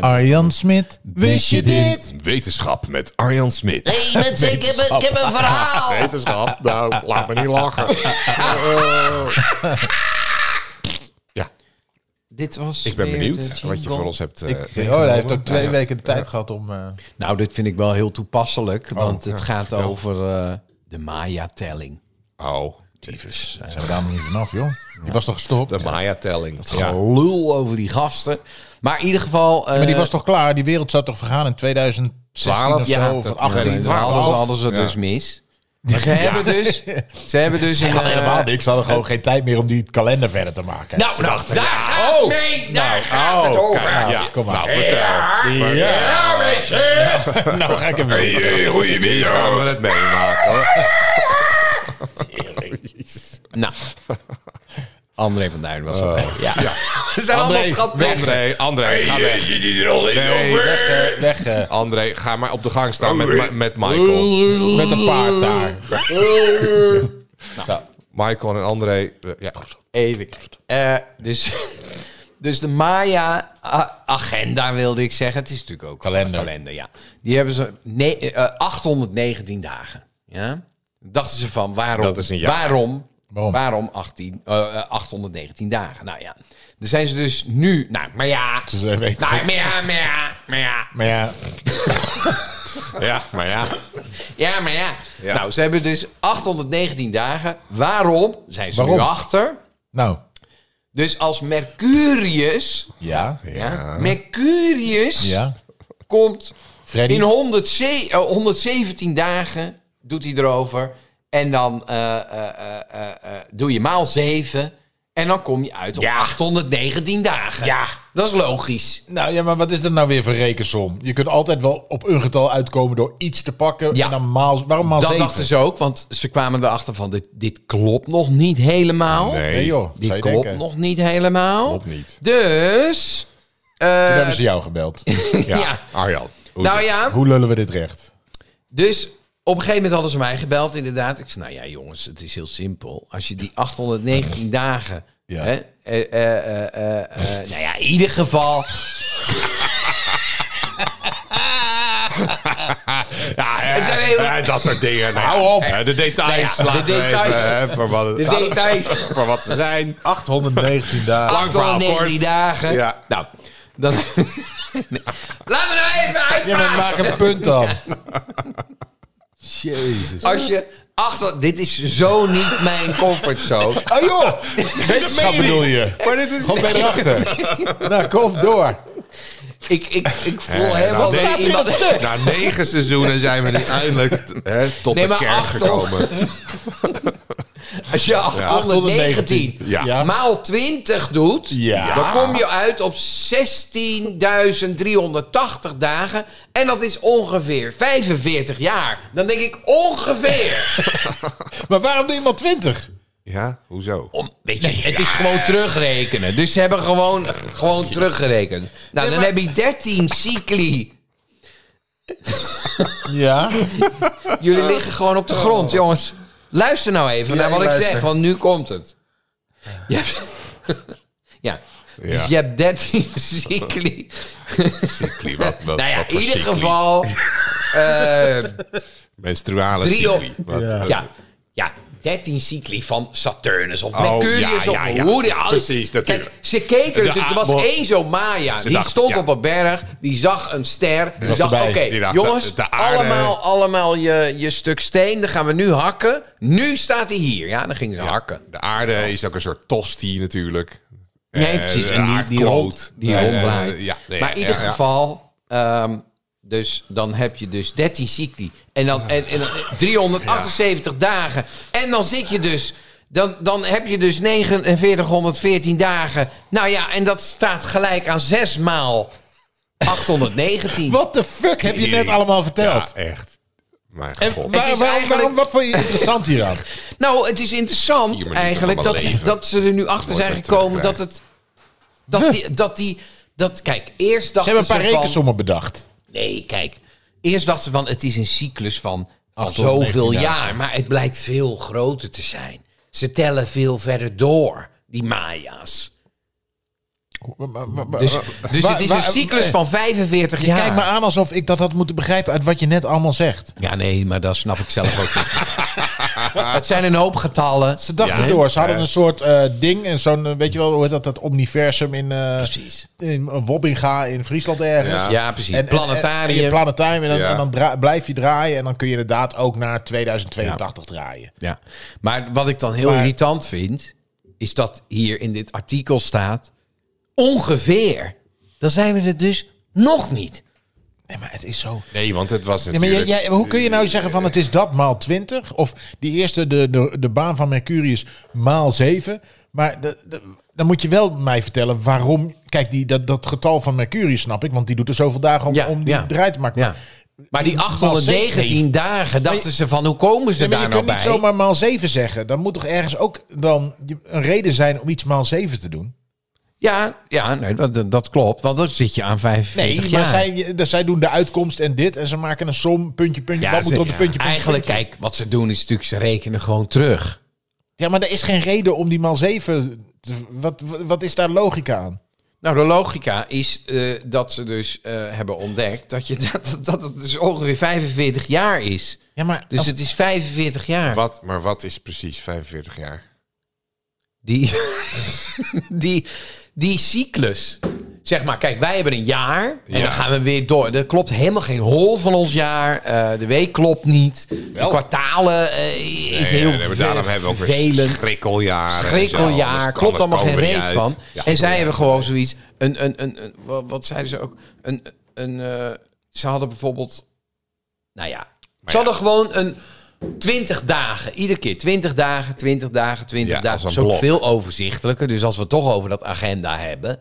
S3: Arjan Smit, wist je dit?
S2: Wetenschap met Arjan Smit.
S5: Hé mensen, ik heb, een, ik heb een verhaal.
S2: Wetenschap? Nou, laat me niet lachen. ja,
S5: Dit was
S2: ik ben
S5: weer de
S2: benieuwd
S5: jingle.
S2: wat je voor ons hebt eh,
S3: Oh,
S2: meegenomen.
S3: hij heeft ook twee
S2: Ja, ja.
S3: weken de tijd gehad om... eh,
S5: Nou, dit vind ik wel heel toepasselijk, want het
S2: Oh, ja,
S5: gaat
S2: vertel.
S5: over eh, de Maya-telling.
S2: Oh, tyfus.
S3: zijn we daar nog niet vanaf, joh? Die was toch gestopt?
S2: De Maya-telling. Ja.
S5: Gelul over die gasten. Maar in ieder geval... eh,
S3: maar die was toch klaar? Die wereld zou toch vergaan in 2016 of
S5: ja,
S3: zo?
S5: dat-
S3: Of
S5: dat-
S3: 18,
S5: dat hadden ze,
S3: 12?
S5: hadden ze
S2: Ja.
S5: dus mis. Maar ze hebben dus... Ze hebben dus een, eh,
S3: helemaal niks. Ze hadden gewoon geen tijd meer om die kalender verder te maken. Oh,
S5: Nou, nou, daar gaat het mee, daar gaat het over.
S2: Ja,
S3: kom maar.
S2: Nou, vertel.
S5: Ja, weet je.
S3: nou ga ik hem weer.
S2: Hey, goedemiddag. Gaan we het meemaken. hoor.
S5: Nou, André van Duin was erbij. ja. Ze zijn allemaal
S2: André,
S5: schat weg.
S2: André, André, ga weg.
S1: Je die er al in
S2: Nee,
S1: over.
S2: weg, eh,
S3: Weg eh,
S2: André, ga maar op de gang staan met, Ma- met Michael.
S3: met een paard daar.
S5: Nou.
S2: Michael en André. eh, Ja.
S5: Even kijken. Eh, dus, dus de Maya-agenda wilde ik zeggen. Het is natuurlijk ook
S3: Kalender.
S5: een kalender, ja. Die hebben ze ne- eh, 819 dagen. Ja? Dachten ze van, waarom?
S2: Dat is een jaar.
S5: Waarom?
S3: Waarom?
S5: 18, eh, eh, 819 dagen? Nou ja, dan zijn ze dus nu... Nou, maar ja...
S3: Dus, eh, weet
S5: Nou,
S3: ik.
S5: maar ja, maar ja, maar ja.
S3: Maar ja,
S2: ja, maar ja.
S5: Ja, maar ja.
S2: Ja.
S5: Nou, ze hebben dus 819 dagen. Waarom? Zijn ze nu
S3: Waarom?
S5: achter.
S3: nou.
S5: Dus als Mercurius...
S3: Ja.
S5: Ja. Mercurius
S3: Ja.
S5: komt
S3: Freddy.
S5: in 100 ze- eh, 117 dagen, doet hij erover. En dan eh, eh, eh, eh, eh, doe je maal 7. En dan kom je uit op 819 dagen. Ja. Dat is logisch.
S3: Nou ja, maar wat is dat nou weer voor rekensom? Je kunt altijd wel op een getal uitkomen door iets te pakken.
S5: Ja.
S3: En dan maal, waarom maal
S5: dat
S3: zeven?
S5: dachten ze ook, want ze kwamen erachter van... dit, dit klopt nog niet helemaal.
S3: Nee joh,
S5: Dit
S3: zou je
S5: klopt
S3: denken.
S5: nog niet helemaal.
S2: Klopt niet.
S5: Dus... eh,
S3: Toen hebben ze jou gebeld.
S2: Ja,
S5: Ja.
S2: Arjan. Hoe
S5: nou ja,
S3: Hoe lullen we dit recht?
S5: Dus op een gegeven moment hadden ze mij gebeld, inderdaad. Ik zei, nou ja, jongens, het is heel simpel. Als je die 819 dagen...
S3: Ja.
S5: Hè, eh, eh, eh, eh, eh, nou ja, in ieder geval...
S2: Ja, eh,
S5: Het zijn heel-
S2: eh, dat soort dingen. Nou,
S5: Hou op.
S2: eh, De details
S5: Nou ja,
S2: laten
S5: de
S2: we
S5: details.
S2: even, eh, voor, wat het,
S5: De details.
S2: voor wat ze zijn.
S3: 819 dagen.
S2: Lang verhaal
S5: 819
S2: kort.
S5: dagen.
S2: Ja.
S5: Nou, dan... Nee. Laat me nou even
S3: Ja, maar
S5: uitpraten.
S3: maak een punt dan. Jezus.
S5: Als je... Achter, dit is zo niet mijn comfortzone.
S3: Oh joh, wetenschap bedoel je? Maar dit is... Kom bij erachter. Nou, kom door.
S5: Ik, ik, ik voel
S2: Eh,
S5: helemaal
S2: nou,
S5: dat
S2: nee.
S5: iemand...
S2: Na negen seizoenen zijn we nu eindelijk t- hè, tot
S5: Nee,
S2: de
S5: maar
S2: kern
S5: acht,
S2: gekomen.
S5: Als je 819
S2: Ja.
S3: Ja.
S5: maal 20 doet,
S3: Ja.
S5: dan kom je uit op 16.380 dagen. En dat is ongeveer 45 jaar. Dan denk ik ongeveer.
S3: Maar waarom doe je maar 20?
S2: Ja, hoezo?
S5: Om, weet je, het is gewoon terugrekenen. Dus ze hebben gewoon, gewoon teruggerekend. Nou, dan heb je 13 cycli.
S3: Ja.
S5: Jullie liggen gewoon op de grond, jongens. Oh. Luister nou even naar
S3: ik
S5: wat ik
S3: luister.
S5: zeg, want nu komt het. Je hebt- ja. Dus je hebt 13 cycli.
S2: Cycli, wat, wat,
S5: nou ja,
S2: wat
S5: in
S2: voor
S5: ieder
S2: cycli?
S5: geval. eh,
S2: Menstruale
S5: Drie
S2: serie.
S5: op-
S2: Wat,
S3: Ja.
S2: eh,
S5: ja, ja, 13 cycli van Saturnus of
S2: Oh,
S5: Mercurius
S2: ja,
S5: of
S2: ja, ja.
S5: hoe die alles.
S2: Precies,
S5: Kijk,
S2: natuurlijk.
S5: ze keken
S2: De
S5: natuurlijk. Er
S2: aardbol-
S5: was één zo'n Maya. Die
S2: dacht,
S5: stond
S2: ja.
S5: op een berg. Die zag een ster. Die
S2: was
S5: dacht, oké,
S2: erbij. Die dacht,
S5: jongens,
S2: de- de aarde-
S5: allemaal, allemaal je, je stuk steen. Dan gaan we nu hakken. Nu staat hij hier. Ja, dan gingen ze hakken.
S2: De aarde is ook een soort tosti natuurlijk.
S5: Nee,
S2: Eh,
S5: precies.
S2: de
S5: En die, die,
S2: aardkloot.
S5: rond, die
S2: Eh,
S5: ronddraait.
S2: eh, ja, nee,
S5: maar
S2: ja,
S5: in ieder
S2: ja, ja.
S5: geval, ehm, dus dan heb je dus 13 cycli. En dan, en, en dan
S2: Ah.
S5: 378 dagen. En dan zit je dus, dan, dan heb je dus 4914 dagen. Nou ja, en dat staat gelijk aan 6 maal 819.
S3: What the fuck heb je net allemaal verteld?
S2: Ja, echt. Mijn
S3: En
S2: god.
S3: waar- waarom-
S5: eigenlijk-
S3: waarom- wat vond je interessant hieraan?
S5: Nou, het is
S2: Vier
S5: interessant
S2: minuten
S5: eigenlijk
S2: van mijn
S5: dat, die,
S2: leven.
S5: dat ze er nu achter
S2: Nooit
S5: zijn
S2: meer
S5: gekomen dat
S2: terugkrijgen.
S5: het... Dat die, dat die, dat, kijk, eerst
S3: Ze
S5: dachten
S3: hebben een paar
S5: van-
S3: rekensommen bedacht.
S5: Nee, kijk. Eerst dachten ze van het is een cyclus van, van
S3: 819
S5: zoveel
S3: dagen.
S5: jaar. Maar het blijkt veel groter te zijn. Ze tellen veel verder door, die Maya's.
S3: Eh,
S5: Dus, dus het is een cyclus van 45 jaar.
S3: Kijk me aan alsof ik dat had moeten begrijpen uit wat je net allemaal zegt.
S5: Ja, nee, maar dat snap ik zelf ook niet. het zijn een hoop getallen.
S3: Ze dachten
S5: Ja.
S3: door. Ze hadden een soort eh, ding. En zo'n, eh, weet je wel, hoe heet dat? Dat omniversum in, eh,
S5: Precies.
S3: in Wobbinga in Friesland ergens.
S2: Ja.
S5: Ja, precies.
S3: En- en- En, en
S5: Planetarium.
S3: je planetarium. En dan,
S2: Ja.
S3: en dan dra- blijf je draaien. En dan kun je inderdaad ook naar 2082 draaien.
S5: Ja. Maar wat ik dan heel
S3: Maar-
S5: irritant vind, is dat hier in dit artikel staat ongeveer. Dan zijn we er dus nog niet.
S3: Nee, maar het is zo.
S2: Nee, want het was
S3: Ja, maar
S2: natuurlijk...
S3: jij, jij- hoe kun je nou zeggen van het is dat maal 20? Of die eerste, de, de, de baan van Mercurius, maal 7. Maar de, de- dan moet je wel mij vertellen waarom... Kijk, die, dat, dat getal van Mercurius snap ik, want die doet er zoveel dagen om,
S5: Ja,
S3: om die
S5: ja.
S3: draai te maken.
S5: Ja. Maar die 819
S3: Nee.
S5: dagen dachten ze van hoe komen ze
S3: Nee, maar
S5: daar
S3: je
S5: nou
S3: kunt
S5: bij?
S3: niet zomaar maal 7 zeggen. Dan moet toch ergens ook dan een reden zijn om iets maal 7 te doen?
S5: Ja, ja nee, dat, dat klopt. Want dan zit je aan 45
S3: Nee, maar
S5: jaar.
S3: zij, dat- zij doen de uitkomst en dit. En ze maken een som, puntje, puntje.
S5: Ja,
S3: wat moet
S5: ze-
S3: er op de puntje, puntje,
S5: Eigenlijk,
S3: puntje?
S5: kijk, wat ze doen is natuurlijk, ze rekenen gewoon terug.
S3: Ja, maar er is geen reden om die maal 7... te- Wat, wat, wat is daar logica aan?
S5: Nou, de logica is eh, dat ze dus eh, hebben ontdekt dat, je, dat, dat het dus ongeveer 45 jaar is.
S3: Ja, maar
S5: Dus
S3: als-
S5: het is 45 jaar.
S2: Wat, maar wat is precies 45 jaar?
S5: Die, die, die cyclus. Zeg maar, kijk, wij hebben een jaar en
S2: Ja.
S5: dan gaan we weer door. Er klopt helemaal geen hol van ons jaar. eh, de week klopt niet. De kwartalen eh, is
S2: Nee,
S5: heel
S2: nee, maar daarom
S5: ver-
S2: hebben we ook weer
S5: vervelend.
S2: schrikkeljaren. en zo. Anders-
S5: Schrikkeljaar,
S2: anders
S5: klopt allemaal geen
S2: komen we
S5: reet
S2: niet uit.
S5: van.
S2: Ja.
S5: en zij hebben gewoon zoiets, een, een, een, een- wat, wat zeiden ze ook? Een, een, eh, ze hadden bijvoorbeeld, nou ja, ze hadden gewoon een 20 dagen, iedere keer 20 dagen, 20 dagen, 20
S2: Ja, als
S5: dagen.
S2: een
S5: Zo
S2: blok.
S5: veel overzichtelijker. Dus als we het toch over dat agenda hebben,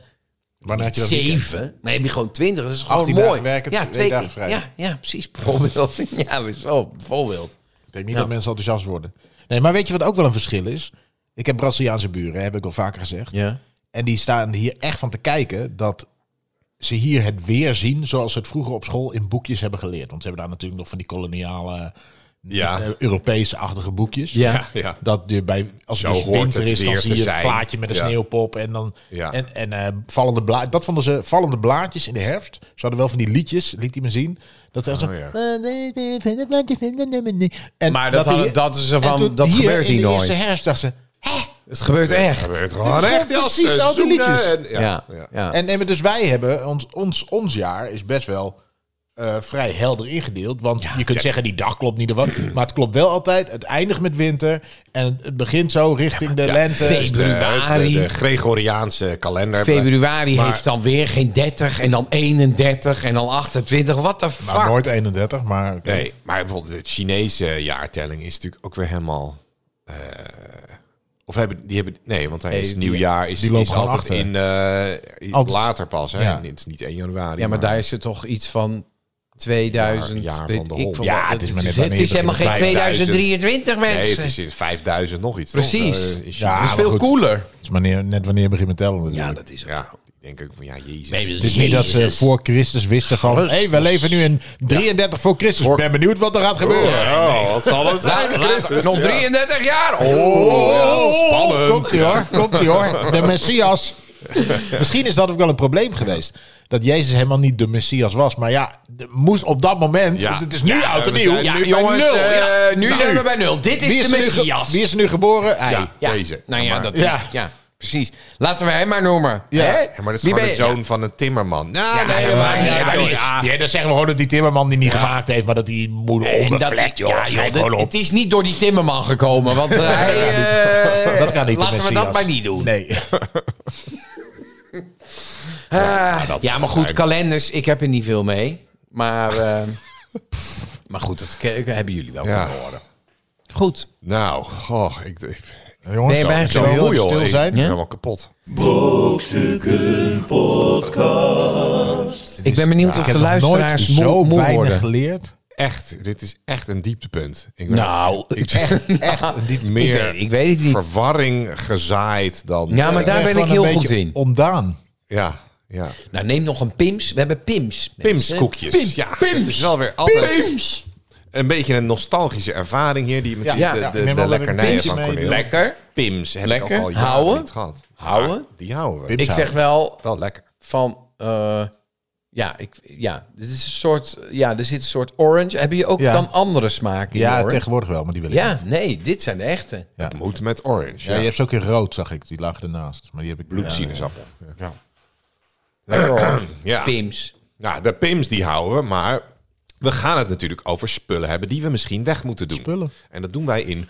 S3: Wanneer had je dat weekend?
S5: zeven, maar heb je gewoon 20, dat is gewoon
S3: 18
S5: mooi.
S3: dagen werken, twee dagen
S5: keer.
S3: vrij.
S5: Ja, ja, precies, bijvoorbeeld. ja, zo, bijvoorbeeld.
S3: Ik denk niet
S5: Ja.
S3: dat mensen enthousiast worden. Nee, maar weet je wat ook wel een verschil is? Ik heb Braziliaanse buren, heb ik al vaker gezegd.
S5: Ja.
S3: En die staan hier echt van te kijken dat ze hier het weer zien zoals ze het vroeger op school in boekjes hebben geleerd. Want ze hebben daar natuurlijk nog van die koloniale,
S2: Ja.
S3: eh, Europese-achtige boekjes.
S5: Ja.
S2: Ja.
S3: Dat je bij, als
S2: Zo
S3: het dus
S2: hoort
S3: winter
S2: het
S3: is, dan
S2: weer
S3: zie
S2: te
S3: je het
S2: zijn.
S3: plaatje met een
S2: Ja.
S3: sneeuwpop. En dan
S2: Ja.
S3: en, en eh, vallende blaadjes. Dat vonden ze vallende blaadjes in de herfst. Ze hadden wel van die liedjes, liet hij me zien. Dat ze echt zo. "Eh,
S2: ja.
S3: En
S5: Oh, Maar dat,
S3: hij-
S5: hadden- dat is er
S3: en
S5: van,
S3: toen
S5: dat gebeurt
S3: in
S5: hier
S3: de
S5: nooit.
S3: eerste herfst dacht ze.
S5: Het gebeurt echt.
S2: We hebben het gewoon echt
S3: gewoon
S2: als
S3: precies al die
S2: seizoenen
S3: liedjes.
S2: en-
S5: Ja,
S2: Ja.
S5: ja.
S3: En, en dus wij hebben, ons, ons, ons jaar is best wel eh, vrij helder ingedeeld. Want je kunt zeggen, die dag klopt niet of wat. Maar het klopt wel altijd. Het eindigt met winter. En het begint zo richting de lente.
S5: feest.
S2: De,
S5: Februari.
S2: de, de Gregoriaanse kalender.
S5: Februari
S2: Maar-
S5: heeft dan weer geen 30 en dan 31 en dan 28. Wat de fuck?
S3: Nou, nooit 31, maar... oké.
S2: Nee, maar bijvoorbeeld de Chinese jaartelling is natuurlijk ook weer helemaal. eh, of hebben die hebben nee, want hij is
S5: die-
S2: nieuwjaar is,
S3: die lopen
S2: is
S3: gewoon
S2: altijd
S3: achter.
S2: in eh,
S3: Altijd-
S2: later pas. Hè?
S3: Ja.
S2: Het is niet 1 januari.
S5: ja, maar daar is het toch iets van 2000.
S2: Jaar- jaar
S5: weet
S2: van de
S5: ik
S2: hond.
S5: veel
S3: Ja,
S5: wat.
S3: het is maar net
S5: het
S3: wanneer
S5: is
S3: dat
S5: helemaal
S3: je
S5: geen
S3: het
S2: 5000.
S5: 2023 mensen.
S2: nee, het is in 5000 nog iets.
S5: Precies.
S2: Toch? Eh, in China.
S3: Ja,
S5: dat is
S3: maar
S5: veel
S3: goed.
S5: cooler.
S3: Het is wanneer, net wanneer je begint met tellen natuurlijk.
S5: Ja, dat is ook.
S2: ja, ik denk ook van ja, Jezus.
S3: het is niet dat ze voor Christus wisten van... Hé,
S5: Christus.
S3: hey, we leven nu in 33 voor Christus. Ik ben benieuwd wat er gaat gebeuren.
S2: Oh, wat zal het
S3: Nou,
S2: zijn?
S5: Laat-
S2: Christus,
S5: nog
S2: ja.
S5: 33 jaar. Oh,
S2: Spannend.
S3: Komt ie hoor, komt ie hoor. De Messias. Misschien is dat ook wel een probleem geweest. dat Jezus helemaal niet de Messias was. Maar ja, de- moest op dat moment...
S2: Ja.
S3: want Het is nu
S2: Ja,
S3: oud en
S2: we
S3: nieuw.
S2: zijn
S5: Ja,
S2: nu bij
S5: jongens,
S2: nul,
S5: eh,
S2: ja.
S5: nu
S2: Nou.
S5: zijn we bij nul. Dit is, de
S3: er nu ge-
S5: Messias.
S3: wie is er nu geboren? Hij.
S2: Ja.
S5: Ja.
S2: Deze.
S5: Nou ja,
S2: Maar-
S5: dat
S3: Ja.
S5: is... Ja, precies. Laten we hem maar noemen.
S3: Ja.
S5: Hè?
S2: Ja, maar dat is
S5: Wie
S2: gewoon de
S5: ben je?
S2: zoon van een timmerman. Nou,
S5: Ja,
S2: nee,
S5: ja,
S2: dat
S5: maar-
S2: maakt niet
S5: ja,
S2: uit,
S5: maar
S2: joh.
S5: die-
S2: Ja.
S3: Ja, dan zeggen we gewoon dat die Timmerman die niet gemaakt heeft, maar dat die moeder
S5: En dat-
S3: onbevlekt, joh.
S5: ja,
S3: Schrijf
S5: joh, dat-
S3: gewoon op.
S5: Het is niet door die timmerman gekomen, want eh, hij... eh,
S3: Dat kan niet. de
S5: Laten we dat
S3: Messias.
S5: maar niet doen.
S3: Nee.
S5: Ah, ja,
S2: dat
S5: maar
S2: zou
S5: goed,
S2: zijn.
S5: kalenders, ik heb er niet veel mee. Maar, eh, maar goed, dat ke- hebben jullie wel
S2: Ja.
S5: kunnen horen. Goed.
S2: Nou, oh, ik, ik
S3: Jongens,
S5: Ben je bij
S3: zo
S5: gewoon
S3: heel
S2: moe,
S3: even
S2: joh.
S3: stil
S2: Ik
S3: zijn.
S2: ben
S5: Ja?
S2: helemaal kapot.
S5: Ik ben benieuwd of
S3: Ik
S5: de
S3: heb nog nooit
S5: luisteraars moe,
S3: zo
S5: moe
S3: weinig
S5: worden.
S3: geleerd.
S2: Echt, dit is echt een dieptepunt. Ik ben
S5: Nou, echt, echt.
S2: echt meer
S5: weet- ik weet het niet.
S2: verwarring gezaaid dan...
S5: Ja, maar
S2: eh,
S5: daar ben
S3: gewoon
S5: ik heel
S3: een
S5: goed
S3: beetje
S5: in.
S3: Ontdaan.
S2: Ja, ja.
S5: Nou, neem nog een Pims. We hebben Pims. mensen.
S2: Pimskoekjes.
S5: Pim-
S2: Ja,
S5: Pims.
S2: het is wel weer altijd-
S5: Pims.
S2: Een beetje een nostalgische ervaring hier, die met
S5: Ja,
S2: die-
S5: ja,
S2: de,
S5: ja.
S2: de,
S3: Ik
S2: de,
S3: neem wel dat ik
S2: lekkernijen
S3: Pims
S2: van
S3: mee
S2: Cornel.
S3: doe.
S5: Lekker.
S2: Pims heb
S5: Lekker.
S2: ik ook al jaren
S5: Houden.
S2: niet gehad.
S5: Houden.
S2: Ja, die houden we.
S3: Pims.
S5: Ah, Ik zeg wel
S2: Wel lekker.
S5: van... eh, ja, ik, ja, dit is een soort, ja, er zit een soort orange. Hebben je ook
S3: Ja.
S5: dan andere smaken in de
S3: Ja,
S5: orange?
S3: tegenwoordig wel, maar die wil ik
S5: Ja,
S3: niet.
S5: nee, dit zijn de echte.
S3: Ja.
S2: Het moet met orange.
S3: Ja,
S2: Ja,
S3: je hebt ze ook in rood, zag ik. Die lag ernaast. Maar die heb ik...
S2: Bloedsinusappel.
S5: Lekker hoor.
S2: Ja.
S5: Pims.
S2: Nou, de Pims die houden we, maar we gaan het natuurlijk over spullen hebben die we misschien weg moeten doen.
S3: Spullen.
S2: En dat doen wij in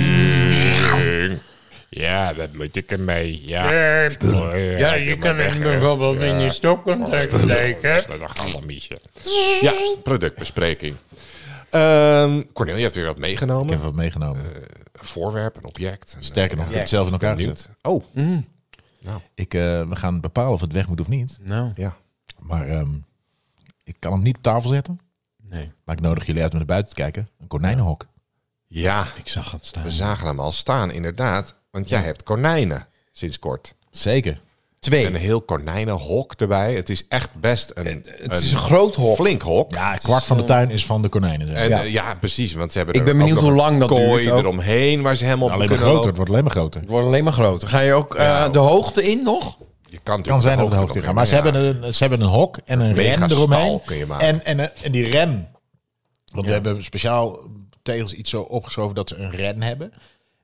S1: Productbespreking. Ja, dat moet ik ermee. Ja,
S6: Ja, je kan het bijvoorbeeld in je stopcontact steken.
S1: Dat gaat allemaal missen.
S2: ja, productbespreking. Ehm Cornel, je hebt weer wat meegenomen.
S3: Ik heb wat meegenomen.
S2: Een voorwerp, een object. Een,
S3: Sterker nog, ik heb het zelf in elkaar gezet.
S2: Benieuwd. Oh,
S1: Hm?
S3: Ik, eh, we gaan bepalen of het weg moet of niet.
S5: Nou,
S2: ja.
S3: Maar ehm, ik kan hem niet op tafel zetten.
S5: Nee.
S3: Maar ik nodig jullie uit om naar buiten te kijken. Een konijnenhok.
S2: Ja,
S3: Ik zag het staan.
S2: we zagen hem al staan, inderdaad. Want jij hebt konijnen sinds kort.
S3: Zeker.
S5: twee.
S2: Een heel konijnenhok erbij. Het is echt best een,
S5: het is een groot hok.
S2: flink hok.
S3: Ja, kwart van de tuin is van de konijnen. zeg.
S2: En, eh,
S5: Ja.
S2: ja. precies, want ze hebben
S5: Ik
S2: er
S5: ben
S2: ook
S5: benieuwd
S2: nog
S5: hoe
S2: een
S5: lang dat
S2: kooi
S5: duurt ook.
S2: eromheen waar ze helemaal op
S3: Alleen maar
S2: kunnen
S3: groter.
S2: lopen.
S3: Het wordt alleen maar groter.
S5: Het wordt alleen maar groter. Ga je ook eh, de hoogte in nog?
S2: Je kan, natuurlijk
S3: kan zijn dat de hoogte
S2: nog
S3: in gaat. Maar ze,
S2: ja.
S3: hebben een, ze hebben een hok en een
S2: Mega
S3: ren
S2: stal
S3: eromheen.
S2: kun je maken.
S3: En, en, een- en die ren. Want we hebben speciaal tegels iets zo opgeschoven dat ze een ren hebben.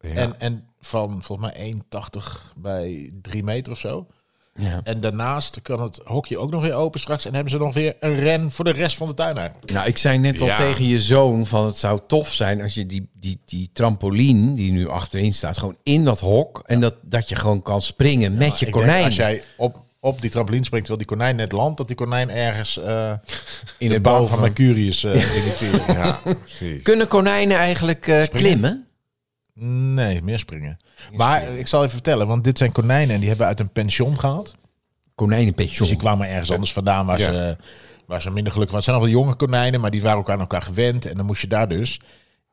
S3: En, en van volgens mij 1,80 bij 3 meter of zo.
S5: Ja.
S3: En daarnaast kan het hokje ook nog weer open straks. En hebben ze nog weer een ren voor de rest van de tuin eigenlijk.
S5: Nou, ik zei net al
S2: Ja.
S5: tegen je zoon van het zou tof zijn als je die, die, die trampoline die nu achterin staat gewoon in dat hok en dat, dat je gewoon kan springen met je
S3: Ik denk,
S5: konijn
S3: als jij op, op die trampoline springt terwijl die konijn net landt, dat die konijn ergens eh,
S5: in
S3: de
S5: het
S3: baan van
S5: boven.
S3: Mercurius eh imiteert.
S2: Ja, precies.
S5: Kunnen konijnen eigenlijk eh, klimmen?
S3: Nee, meer springen. Maar eh, ik zal even vertellen, want dit zijn konijnen en die hebben we uit een pension gehaald. Dus
S5: Konijnenpension.
S3: die kwamen ergens anders vandaan waar,
S2: Ja.
S3: ze, waar ze minder gelukkig waren. Het zijn nog wel jonge konijnen, maar die waren ook aan elkaar gewend. En dan moest je daar dus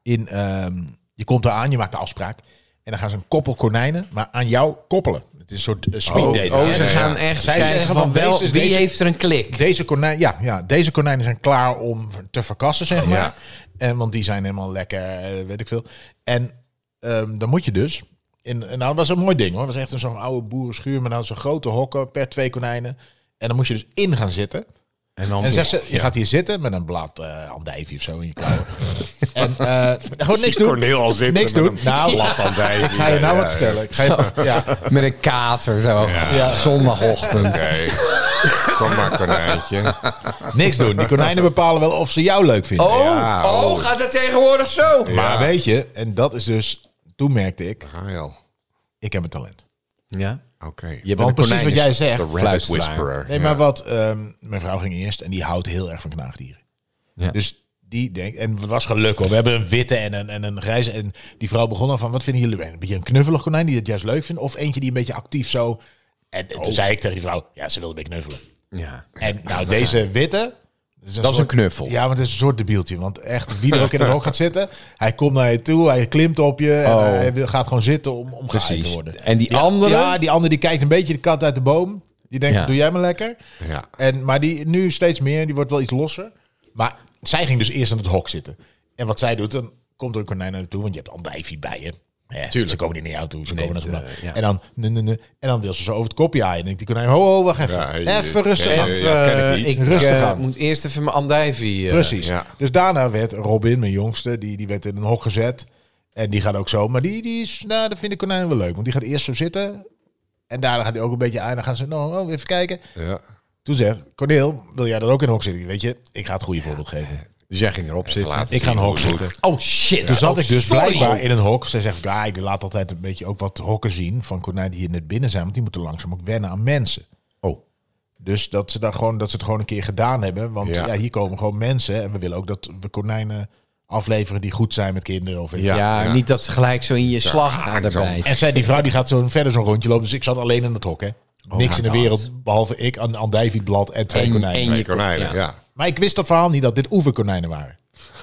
S3: in... ehm, je komt eraan, je maakt de afspraak. En dan gaan ze een koppel konijnen, maar aan jou koppelen. Het is een soort eh, speed
S5: Oh,
S3: dating.
S5: oh,
S3: hè?
S5: ze
S2: Ja, ja.
S5: gaan echt
S3: Zij
S5: kijken
S3: zeggen
S5: van
S3: van,
S5: wel,
S3: deze
S5: wie
S3: is deze-
S5: heeft er een klik?
S3: Deze, konijn, ja, ja, deze konijnen zijn klaar om te verkassen, zeg maar.
S2: Ja.
S3: En, want die zijn helemaal lekker, eh, weet ik veel. En ehm, dan moet je dus... In, nou, dat was een mooi ding hoor. Dat was echt een zo'n oude boerenschuur. Maar dan zo'n grote hokken per twee konijnen. En dan moest je dus in gaan zitten.
S5: En dan
S3: En zegt ze, je gaat hier zitten met een blad eh andijvie of zo in je klauwen. en eh, gewoon niks doen.
S2: Corneel al zitten
S3: Niks
S2: met
S3: doen.
S2: een eh,
S3: Nou,
S2: blad aan het eind.
S3: Ga je nou
S2: Ja,
S3: wat
S2: ja,
S3: vertellen? Ik ga je, ja.
S5: met een kater zo,
S2: Ja.
S5: zondagochtend.
S2: Oké. Kom maar, konijntje.
S3: Niks doen. Die konijnen bepalen wel of ze jou leuk vinden.
S5: Oh,
S2: Ja,
S5: oh,
S2: oh.
S5: gaat het tegenwoordig zo?
S3: Maar weet je, en dat is dus... Toen merkte ik,
S2: Ah, joh.
S3: ik heb een talent.
S5: Ja.
S2: Oké.
S5: Je
S3: Want precies wat jij zegt.
S2: De rabbit
S5: fluisteraar.
S2: whisperer.
S3: Nee, maar wat... ehm, mijn vrouw ging eerst en die houdt heel erg van knaagdieren.
S5: Ja.
S3: Dus die denkt... En het was geluk hoor. We hebben een witte en een, en een grijze. En die vrouw begon dan van... Wat vinden jullie? Een beetje een knuffelig konijn die het juist leuk vindt? Of eentje die een beetje actief zo... En
S2: Oh.
S3: toen zei ik tegen die vrouw... Ja, ze wil een beetje knuffelen.
S5: Ja.
S3: En nou, deze witte...
S5: Dat is een knuffel.
S3: Ja, want het is een soort debieltje. Want echt, wie er ook in de hoek gaat zitten... Hij komt naar je toe, hij klimt op je... En
S5: Oh.
S3: hij wil- gaat gewoon zitten om, om gehaaid te
S5: Precies.
S3: worden.
S5: En die andere?
S3: Ja, die andere die kijkt een beetje de kat uit de boom. Die denkt,
S5: Ja.
S3: doe jij me lekker.
S2: Ja.
S3: En, maar die nu steeds meer, die wordt wel iets losser. Maar zij ging dus eerst in het hok zitten. En wat zij doet, dan komt er een konijn naar haar toe, want je hebt andijvie bij je. Ja, Ze komen niet in je auto. Ze komen naar zo'n-
S5: eh, ja.
S3: En dan, ne, ne, ne, en dan wil ze zo over het kopje haaien. En ik denk, die konijn, ho, ho, wacht even.
S2: Ja, eh,
S3: even rustig
S2: eh,
S3: af.
S2: ja, ken ik niet.
S5: Ik
S3: Rustig
S5: eh,
S3: aan.
S5: moet eerst even mijn andijvie... eh,
S3: Precies.
S2: ja.
S3: Dus daarna werd Robin, mijn jongste, die, die werd in een hok gezet. En die gaat ook zo. Maar die, die is, nou, dat vind ik konijn wel leuk. Want die gaat eerst zo zitten. En daarna gaat hij ook een beetje aan. Dan gaan ze, nou, oh, even kijken.
S2: Ja.
S3: Toen zegt Corneel, wil jij dan ook in een hok zitten? Weet je, ik ga het goede voorbeeld geven.
S5: Dus jij ging erop zitten.
S2: laten
S3: Ik ga in een hok
S2: Goed.
S3: zitten.
S5: Oh shit.
S3: Toen zat ik dus
S5: sorry.
S3: blijkbaar in een hok. Zij zegt, ja, ik laat altijd een beetje ook wat hokken zien van konijnen die hier net binnen zijn. Want die moeten langzaam ook wennen aan mensen.
S5: Oh.
S3: Dus dat ze, daar gewoon, dat ze het gewoon een keer gedaan hebben. Want ja.
S2: Ja.
S3: hier komen gewoon mensen. En we willen ook dat we konijnen afleveren die goed zijn met kinderen. Of weet je.
S5: Ja,
S2: Ja, ja.
S5: niet dat ze gelijk zo in je slag aan erbij.
S3: En zij, die vrouw die gaat zo verder zo'n rondje lopen. Dus ik zat alleen in het hok, hè.
S5: Oh,
S3: Niks in
S5: nou,
S3: de wereld, behalve ik, een andijvieblad en twee
S5: En-
S3: konijnen.
S5: en-
S2: Twee
S5: je kon-
S2: konijnen,
S5: ja.
S2: ja.
S3: Maar ik wist dat verhaal niet, dat dit oeverkonijnen waren.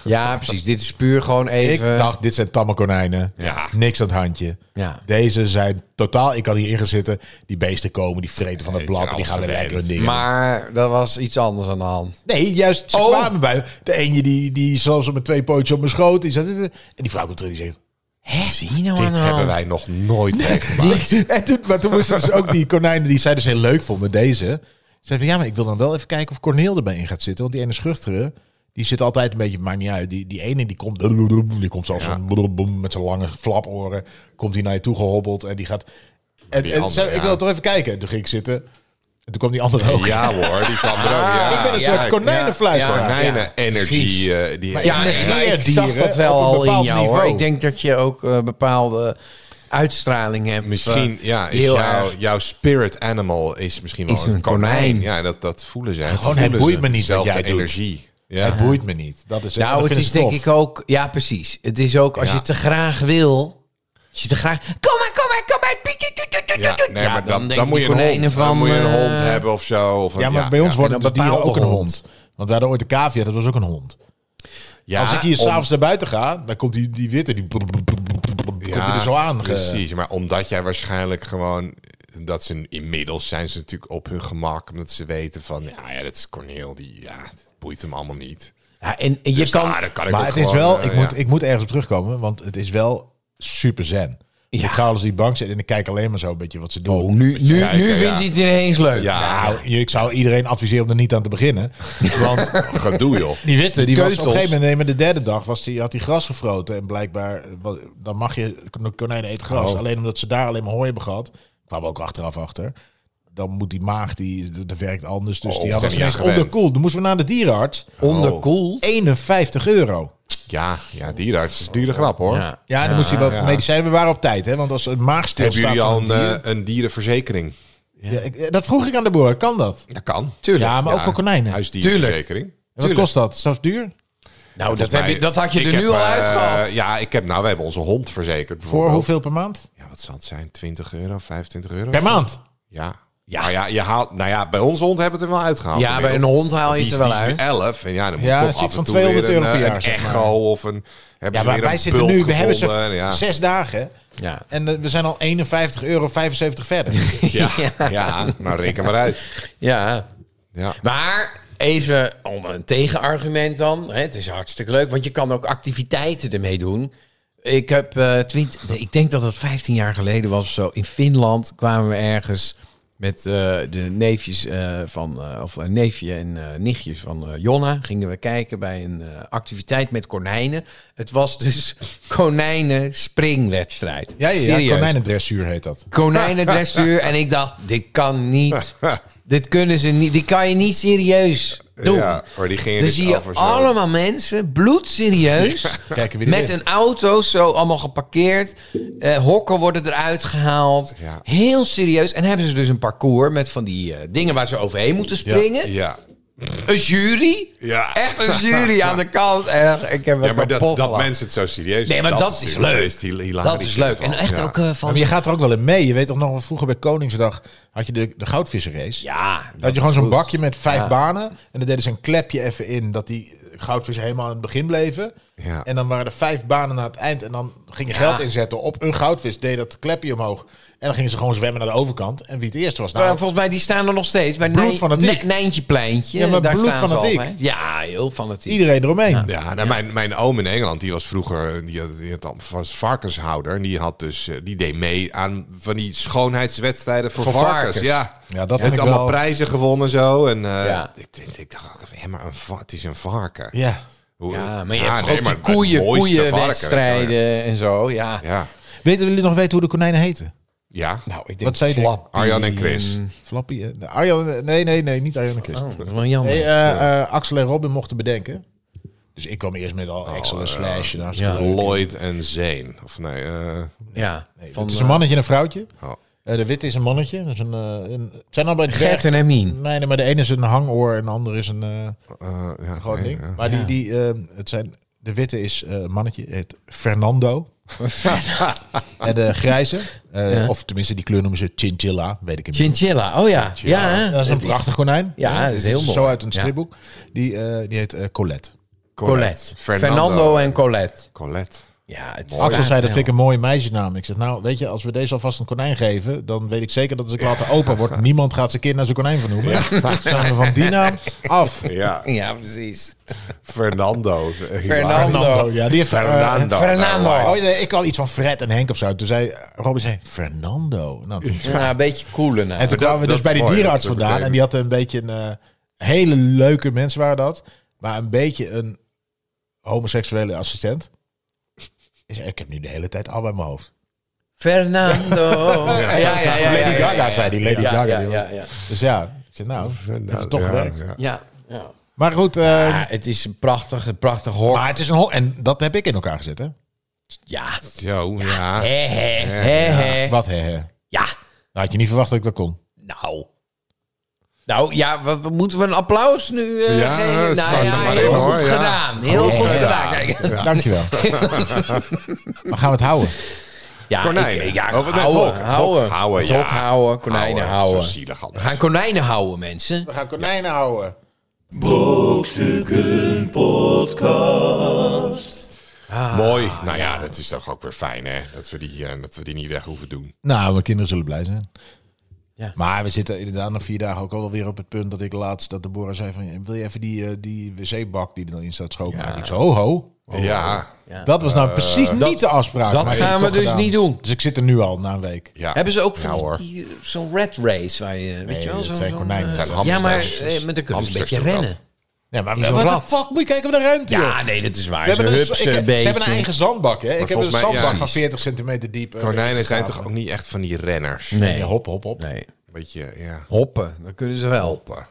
S5: Ja, precies. Dit is puur gewoon even...
S3: Ik dacht, dit zijn tamme konijnen.
S2: Ja.
S3: Niks aan het handje.
S5: Ja.
S3: Deze zijn totaal, ik kan hierin gaan zitten. Die beesten komen, die vreten van het
S2: Nee,
S3: blad.
S2: het
S3: En
S2: zijn
S3: die gaan weer
S2: alles
S3: lekker hun dingen.
S5: Maar dat was iets anders aan de hand.
S3: Nee, juist, ze
S5: Oh.
S3: kwamen bij me. De ene die, die zelfs met twee pootjes op mijn schoot. Die zei, en die vrouw komt terug, die zei...
S5: Hè? Zie je nou aan
S2: Dit
S5: de
S2: hebben
S5: hand?
S2: wij nog nooit meegemaakt.
S3: En toen, maar toen moesten dus ook die konijnen die zij dus heel leuk vonden, deze. Zei van ja, maar ik wil dan wel even kijken of Corneel erbij in gaat zitten. Want die ene schuchtere, die zit altijd een beetje, maakt niet uit. Die, die ene die komt, die komt zelfs
S2: Ja.
S3: zo'n met zijn lange flaporen. Komt die naar je toe gehobbeld en die gaat. En,
S2: die
S3: en
S2: andere,
S3: zei,
S2: ja.
S3: ik wil toch even kijken. En toen ging ik zitten. En toen kwam die andere ook.
S2: Ja hoor, die kwam er ook. Oh, Ja.
S3: ik ben een
S5: ja,
S3: soort konijnenfluisteraar.
S5: ja,
S2: Konijnen energy.
S5: precies.
S2: eh, die
S5: Ja,
S3: Ik
S5: ik,
S3: negeer
S5: ik zag
S3: dieren
S5: dat wel
S3: op een
S5: al in
S3: bepaald
S5: jou hoor.
S3: niveau.
S5: Ik denk dat je ook eh, bepaalde uitstraling hebt.
S2: Misschien
S5: eh,
S2: ja, is
S5: heel
S2: jouw,
S5: erg.
S2: jouw spirit animal is misschien wel
S5: Is
S2: een
S5: een
S2: konijn.
S5: konijn.
S2: Ja, dat, dat voelen zij.
S3: Gewoon,
S2: Voelen
S3: het boeit
S2: ze
S3: me niet wat
S2: zelf
S3: jij
S2: de
S3: doet.
S2: energie. Ja.
S3: Het boeit me niet. Dat is
S5: Nou,
S3: dat
S5: het
S3: vinden
S5: is
S3: ze
S5: denk
S3: tof.
S5: ik ook... Ja, precies. Het is ook als
S2: Ja.
S5: je het te graag wil... Als je te graag... Kom maar, kom maar, kom maar. piet, piet, piet, piet, piet,
S2: Ja,
S5: piet.
S2: nee,
S5: Ja,
S2: maar dan, dan,
S5: denken
S2: moet je
S5: die
S2: een hond,
S5: konijnen
S2: dan moet je een hond
S5: eh,
S2: hebben of zo. Of een-
S3: Ja, maar bij ons worden
S5: En een
S3: de dieren ook
S5: bepaalde
S3: een hond.
S5: hond.
S3: Want we hadden ooit de cavia, dat was ook een hond.
S2: ja,
S3: Als ik hier
S2: om-
S3: s'avonds naar buiten ga, dan komt die, die witte, die komt die er zo aan. eh. ge-
S2: Precies, maar omdat jij waarschijnlijk gewoon dat ze inmiddels zijn ze natuurlijk op hun gemak omdat ze weten van ja, ja dat is Corneel die ja, dat boeit hem allemaal niet.
S5: Ja, en en je
S2: Dus
S5: kan...
S2: ah, dan kan ik
S3: Maar
S2: ook
S3: het is
S2: gewoon,
S3: wel,
S2: eh,
S3: ik, moet,
S2: ja.
S3: ik moet ergens op terugkomen, want het is wel super zen.
S5: Ja.
S3: Ik ga alles die bank zitten en ik kijk alleen maar zo een beetje wat ze doen.
S5: Oh, nu, nu,
S2: kijken,
S5: nu
S2: ja.
S5: vindt hij het ineens leuk.
S2: ja,
S3: Nou, je- ik zou iedereen adviseren om er niet aan te beginnen. Want
S2: gedoe joh.
S3: die witte, die was op een
S5: Keutels.
S3: gegeven moment, nee, maar de derde dag was die, had hij gras gefroten. En blijkbaar, eh, wat- dan mag je, kon- konijnen eten gras.
S2: Oh.
S3: Alleen omdat ze daar alleen maar hooi hebben gehad, kwamen we ook achteraf achter. Dan moet die maag, die, dat dat werkt anders. Dus
S2: Oh,
S3: die
S2: is
S3: hadden
S2: dat
S3: ze
S2: niet
S3: ineens
S2: gewend?
S3: onderkoeld. Dan moesten we naar de dierenarts.
S2: Oh.
S5: Onderkoeld.
S3: 51 euro.
S2: Ja, ja, dierenarts is een dure grap hoor.
S3: Ja, en dan moest hij wat medicijnen. We waren op tijd, hè? Want als een maagstilstand.
S2: Hebben jullie al een,
S3: van een
S2: eh, een dierenverzekering?
S3: dier- Ja, ik- eh, dat vroeg ik aan de boer. Kan dat?
S2: Dat kan.
S5: Tuurlijk.
S3: Ja, maar ook
S2: Ja,
S3: voor konijnen.
S2: Huisdierenverzekering.
S3: En wat kost dat? Is dat duur?
S5: nou, dat,
S2: Volgens
S5: heb
S2: mij-
S5: je, dat had je
S2: ik
S5: er
S2: heb,
S5: nu al
S2: eh,
S5: uitgehaald.
S2: Ja, ik heb, nou, wij hebben onze hond verzekerd.
S3: Voor
S2: bijvoorbeeld.
S3: hoeveel per maand?
S2: Ja, wat zal het zijn? 20 euro, 25 euro?
S3: Per maand.
S2: Ja. Ja. Nou ja, je haalt, nou ja, bij onze hond hebben we het er wel uitgehaald.
S5: Ja, bij een
S2: inmiddels.
S5: hond haal je
S2: Die
S5: het
S2: is,
S5: er
S2: die
S5: wel
S2: is nu
S5: uit.
S2: 11 en ja, dan moet
S3: Ja,
S2: toch
S3: het zit
S2: af en
S3: van
S2: toe
S3: 200
S2: weer een,
S3: euro per
S2: eh,
S3: jaar,
S2: een
S3: zeg maar.
S2: echo of een hebben
S3: Ja,
S2: ze
S3: maar
S2: weer
S3: wij
S2: een
S3: zitten
S2: bult
S3: nu, we hebben
S2: gevonden.
S3: ze
S2: ja.
S3: zes dagen.
S5: Ja.
S3: En eh, we zijn al 51,75 euro verder.
S2: Ja, ja. nou reken maar uit.
S5: Ja.
S2: Ja.
S5: Maar even om een tegenargument dan. Hè, het is hartstikke leuk, want je kan ook activiteiten ermee doen. Ik heb eh, 20 ik denk dat dat 15 jaar geleden was of zo. In Finland kwamen we ergens met eh, de neefjes eh, van, eh, of een neefje en eh, nichtjes van eh, Jonna. Gingen we kijken bij een eh, activiteit met konijnen. Het was dus konijnen springwedstrijd.
S3: Ja, ja,
S5: Serieus
S3: ja konijnendressuur heet dat.
S5: konijnendressuur. en ik dacht, dit kan niet. Dit kunnen ze niet. Dit kan je niet serieus doen.
S2: Ja, maar die gingen
S5: Dan
S2: dus
S5: zie je
S2: over zo.
S5: allemaal mensen, bloedserieus,
S3: kijken wie er
S5: met
S3: wint.
S5: een auto zo allemaal geparkeerd. Eh, hokken worden eruit gehaald.
S2: Ja.
S5: Heel serieus. En hebben ze dus een parcours met van die eh, dingen waar ze overheen moeten springen.
S2: Ja.
S5: Een jury.
S2: Ja.
S5: Echt een jury aan de kant. Echt, ik heb me
S2: Ja, maar dat,
S5: kapot
S2: dat
S5: gelachen.
S2: mensen het zo serieus
S5: Nee, maar
S2: nemen,
S5: dat is
S2: natuurlijk
S5: leuk.
S2: best hil- hilarisch
S5: Dat is leuk. En
S2: hiervan.
S5: echt
S2: Ja.
S5: ook eh,
S3: Maar
S5: van...
S3: je gaat er ook wel in mee. Je weet toch nog, wel, vroeger bij Koningsdag had je de, de goudvissenrace.
S5: Ja,
S3: Dat had je gewoon zo'n bakje met vijf banen. En dan deden ze een klepje even in dat die goudvissen helemaal aan het begin bleven.
S2: Ja.
S3: En dan waren er vijf banen aan het eind. En dan gingen geld inzetten op een goudvis, deed dat klepje omhoog. En dan gingen ze gewoon zwemmen naar de overkant. En wie het eerst was, nou,
S5: Maar volgens mij die staan er nog steeds. Bij
S3: Bloed
S5: Nij-
S3: fanatiek.
S5: Nij- Nijntjepleintje.
S3: Ja, maar
S5: daar
S3: bloed
S5: staan ze
S3: fanatiek.
S5: altijd. Ja, heel fanatiek.
S3: iedereen eromheen.
S2: Ja, nou, Mijn, mijn oom in Engeland, die was vroeger eh, die had, die had, al- was varkenshouder. En die, had dus, eh, die deed mee aan van die schoonheidswedstrijden voor,
S5: Voor
S2: varkens.
S5: varkens.
S2: Ja,
S3: Ja,
S2: Hij
S3: dat vind
S2: heeft
S3: ik
S2: allemaal
S3: wel-
S2: prijzen gewonnen zo. En eh,
S5: Ja.
S2: ik, ik, ik dacht, altijd, hé, maar een va- het is een varken.
S3: Ja.
S2: Hoe-
S5: Ja, maar je
S2: Ah,
S5: hebt
S2: nee,
S5: ook
S2: maar
S5: die
S2: het mooiste
S5: koeien,
S2: varken, weet je wel, ja.
S5: koeienwedstrijden en zo. Ja.
S2: Ja,
S3: Weten jullie nog weten hoe de konijnen heten?
S2: ja.
S5: Nou, ik denk
S3: Wat zei je?
S5: Flappy
S2: Arjan en Chris.
S3: Flappy? eh, Arjan, nee, nee, nee, niet Arjan en Chris.
S2: Oh,
S5: Dat is wel jammer.
S3: Nee, eh, eh, Axel en Robin mochten bedenken. Dus ik kwam eerst met
S5: Oh,
S3: al Axel
S5: eh,
S3: en Slash. en hartstikke leuk.
S2: Lloyd en Zane. Of nee, eh,
S5: ja, van eh,
S3: Het is een mannetje en een vrouwtje.
S2: Oh.
S3: Eh, de witte is een mannetje. Dat is een, eh, een, het zijn allebei
S5: eh, Gert en
S3: dwergen.
S5: Hermine.
S3: Nee, nee, maar de ene is een hangoor en de andere is een eh
S2: eh, ja,
S3: groot
S2: nee,
S3: ding.
S2: ja.
S3: Maar die, die, eh, het zijn, de witte is eh, een mannetje, heet Fernando. en de grijze, eh,
S5: Ja.
S3: of tenminste die kleur noemen ze chinchilla, weet ik niet.
S5: Chinchilla, oh ja. Ja, hè?
S3: Dat is een
S5: Het
S3: prachtig konijn.
S5: Ja, dat is heel
S3: zo
S5: mooi.
S3: uit een
S5: Ja.
S3: stripboek. Die, eh, die heet eh, Colette.
S5: Colette.
S2: Fernando.
S5: Fernando, en Colette.
S2: Colette.
S5: Ja, het
S3: Axel
S5: staat
S3: zei, dat
S5: wel.
S3: vind ik een mooie meisjesnaam. Ik zeg, nou, weet je, als we deze alvast een konijn geven... dan weet ik zeker dat als ik later opa word... niemand gaat zijn kind naar zijn konijn vernoemen. Zijn we van die naam af.
S2: Ja,
S5: Ja, precies.
S2: Fernando.
S5: Fernando.
S3: Ja, die heeft,
S2: Fernando.
S5: Fernando.
S3: eh, oh, nee, ik had iets van Fred en Henk of zo. Toen zei eh, Robin, zei, Fernando. Nou, toen-
S5: Ja, een beetje cooler nou.
S3: en toen
S2: dat-
S3: kwamen we
S2: dat
S3: dus
S2: is
S3: bij die
S2: mooi,
S3: dierenarts
S2: dat is ook
S3: vandaan...
S2: meteen.
S3: en die had een beetje een... eh, hele leuke mensen waren dat... maar een beetje een homoseksuele assistent. Ik zei, ik heb nu de hele tijd al bij mijn hoofd.
S5: Fernando. Ja, ja, ja. ja,
S3: Lady
S5: ja,
S3: Gaga
S5: ja, ja.
S3: zei die, Lady
S5: Ja,
S3: Gaga.
S5: ja,
S3: die-
S5: ja, ja.
S3: Dus ja, ik zei, nou, heeft het toch
S2: ja,
S3: gewerkt.
S2: ja.
S5: Ja, ja.
S3: Maar goed, eh,
S5: Ja, het is een prachtig, een prachtig hok.
S3: maar het is een ho- en dat heb ik in elkaar gezet, hè?
S5: Ja.
S2: Zo, ja.
S5: Hè, hè, hè, hè.
S3: Wat, hè, hè?
S5: Ja,
S3: Nou, had je niet verwacht dat ik dat kon.
S5: nou. Nou ja, wat, wat moeten we een applaus nu? eh,
S2: Ja,
S5: geven?
S2: het staat
S5: nou,
S2: er
S5: ja,
S2: maar
S5: heel
S2: in,
S5: goed
S2: hoor, ja.
S5: gedaan. Heel goed gedaan. Kijk,
S3: Dankjewel. maar gaan we het houden?
S5: Ja,
S2: Konijnen.
S5: ik- ja,
S2: Of het net
S5: houden,
S2: hok, het hok
S5: houden.
S2: houden,
S5: Het
S2: ja.
S5: hok houden, konijnen
S2: Houden,
S5: houden.
S2: Nou, eh, zo zielig allemaal.
S5: We gaan konijnen houden, mensen.
S3: We gaan konijnen houden.
S5: Ah.
S2: Mooi. Nou ja, dat is toch ook weer fijn, hè? Dat we die, eh, dat we die niet weg hoeven doen.
S3: Nou, mijn kinderen zullen blij zijn.
S5: Ja.
S3: Maar we zitten inderdaad na vier dagen ook alweer op het punt dat ik laatst dat de Deborah zei van... Wil je even die, eh, die wc-bak die er dan in staat schoonmaken? Ik zei, ho, ho.
S2: ja.
S3: Dat was nou precies niet de afspraak.
S5: dat
S3: Maar ik
S5: gaan
S3: heb
S5: we
S3: het
S5: dus
S3: toch
S5: niet doen.
S3: Dus ik zit er nu al na een week.
S2: ja.
S5: Hebben ze ook
S2: Ja,
S5: van
S2: hoor.
S5: die- zo'n red race waar je, weet je wel,
S3: dat
S5: zo'n...
S3: zijn
S5: zo'n,
S3: konijnen,
S5: eh,
S3: dat
S2: zijn
S5: Ja, maar
S2: hamsters.
S5: eh, met een kunnen ze een
S2: Hamsters
S5: beetje
S2: doen dat.
S5: rennen.
S3: Ja, maar
S5: zo'n
S3: wat
S5: rat.
S3: de fuck moet je kijken op de ruimte, joh?
S5: Ja, nee, dat is waar.
S3: We hebben
S5: ze
S3: een,
S5: hupsen
S3: ik-
S5: een beetje.
S3: Ze hebben een eigen zandbak, hè? Ik heb een
S2: volgens mij- ja,
S3: zandbak van
S2: precies.
S3: 40 centimeter diep. eh,
S2: Konijnen
S3: erin
S2: zijn toch
S3: gegraven.
S2: ook niet echt van die renners?
S5: Nee,
S3: Ja, hop, hop, hop.
S5: nee.
S2: Beetje, ja.
S5: Hoppen, dat kunnen ze wel.
S2: Hoppen.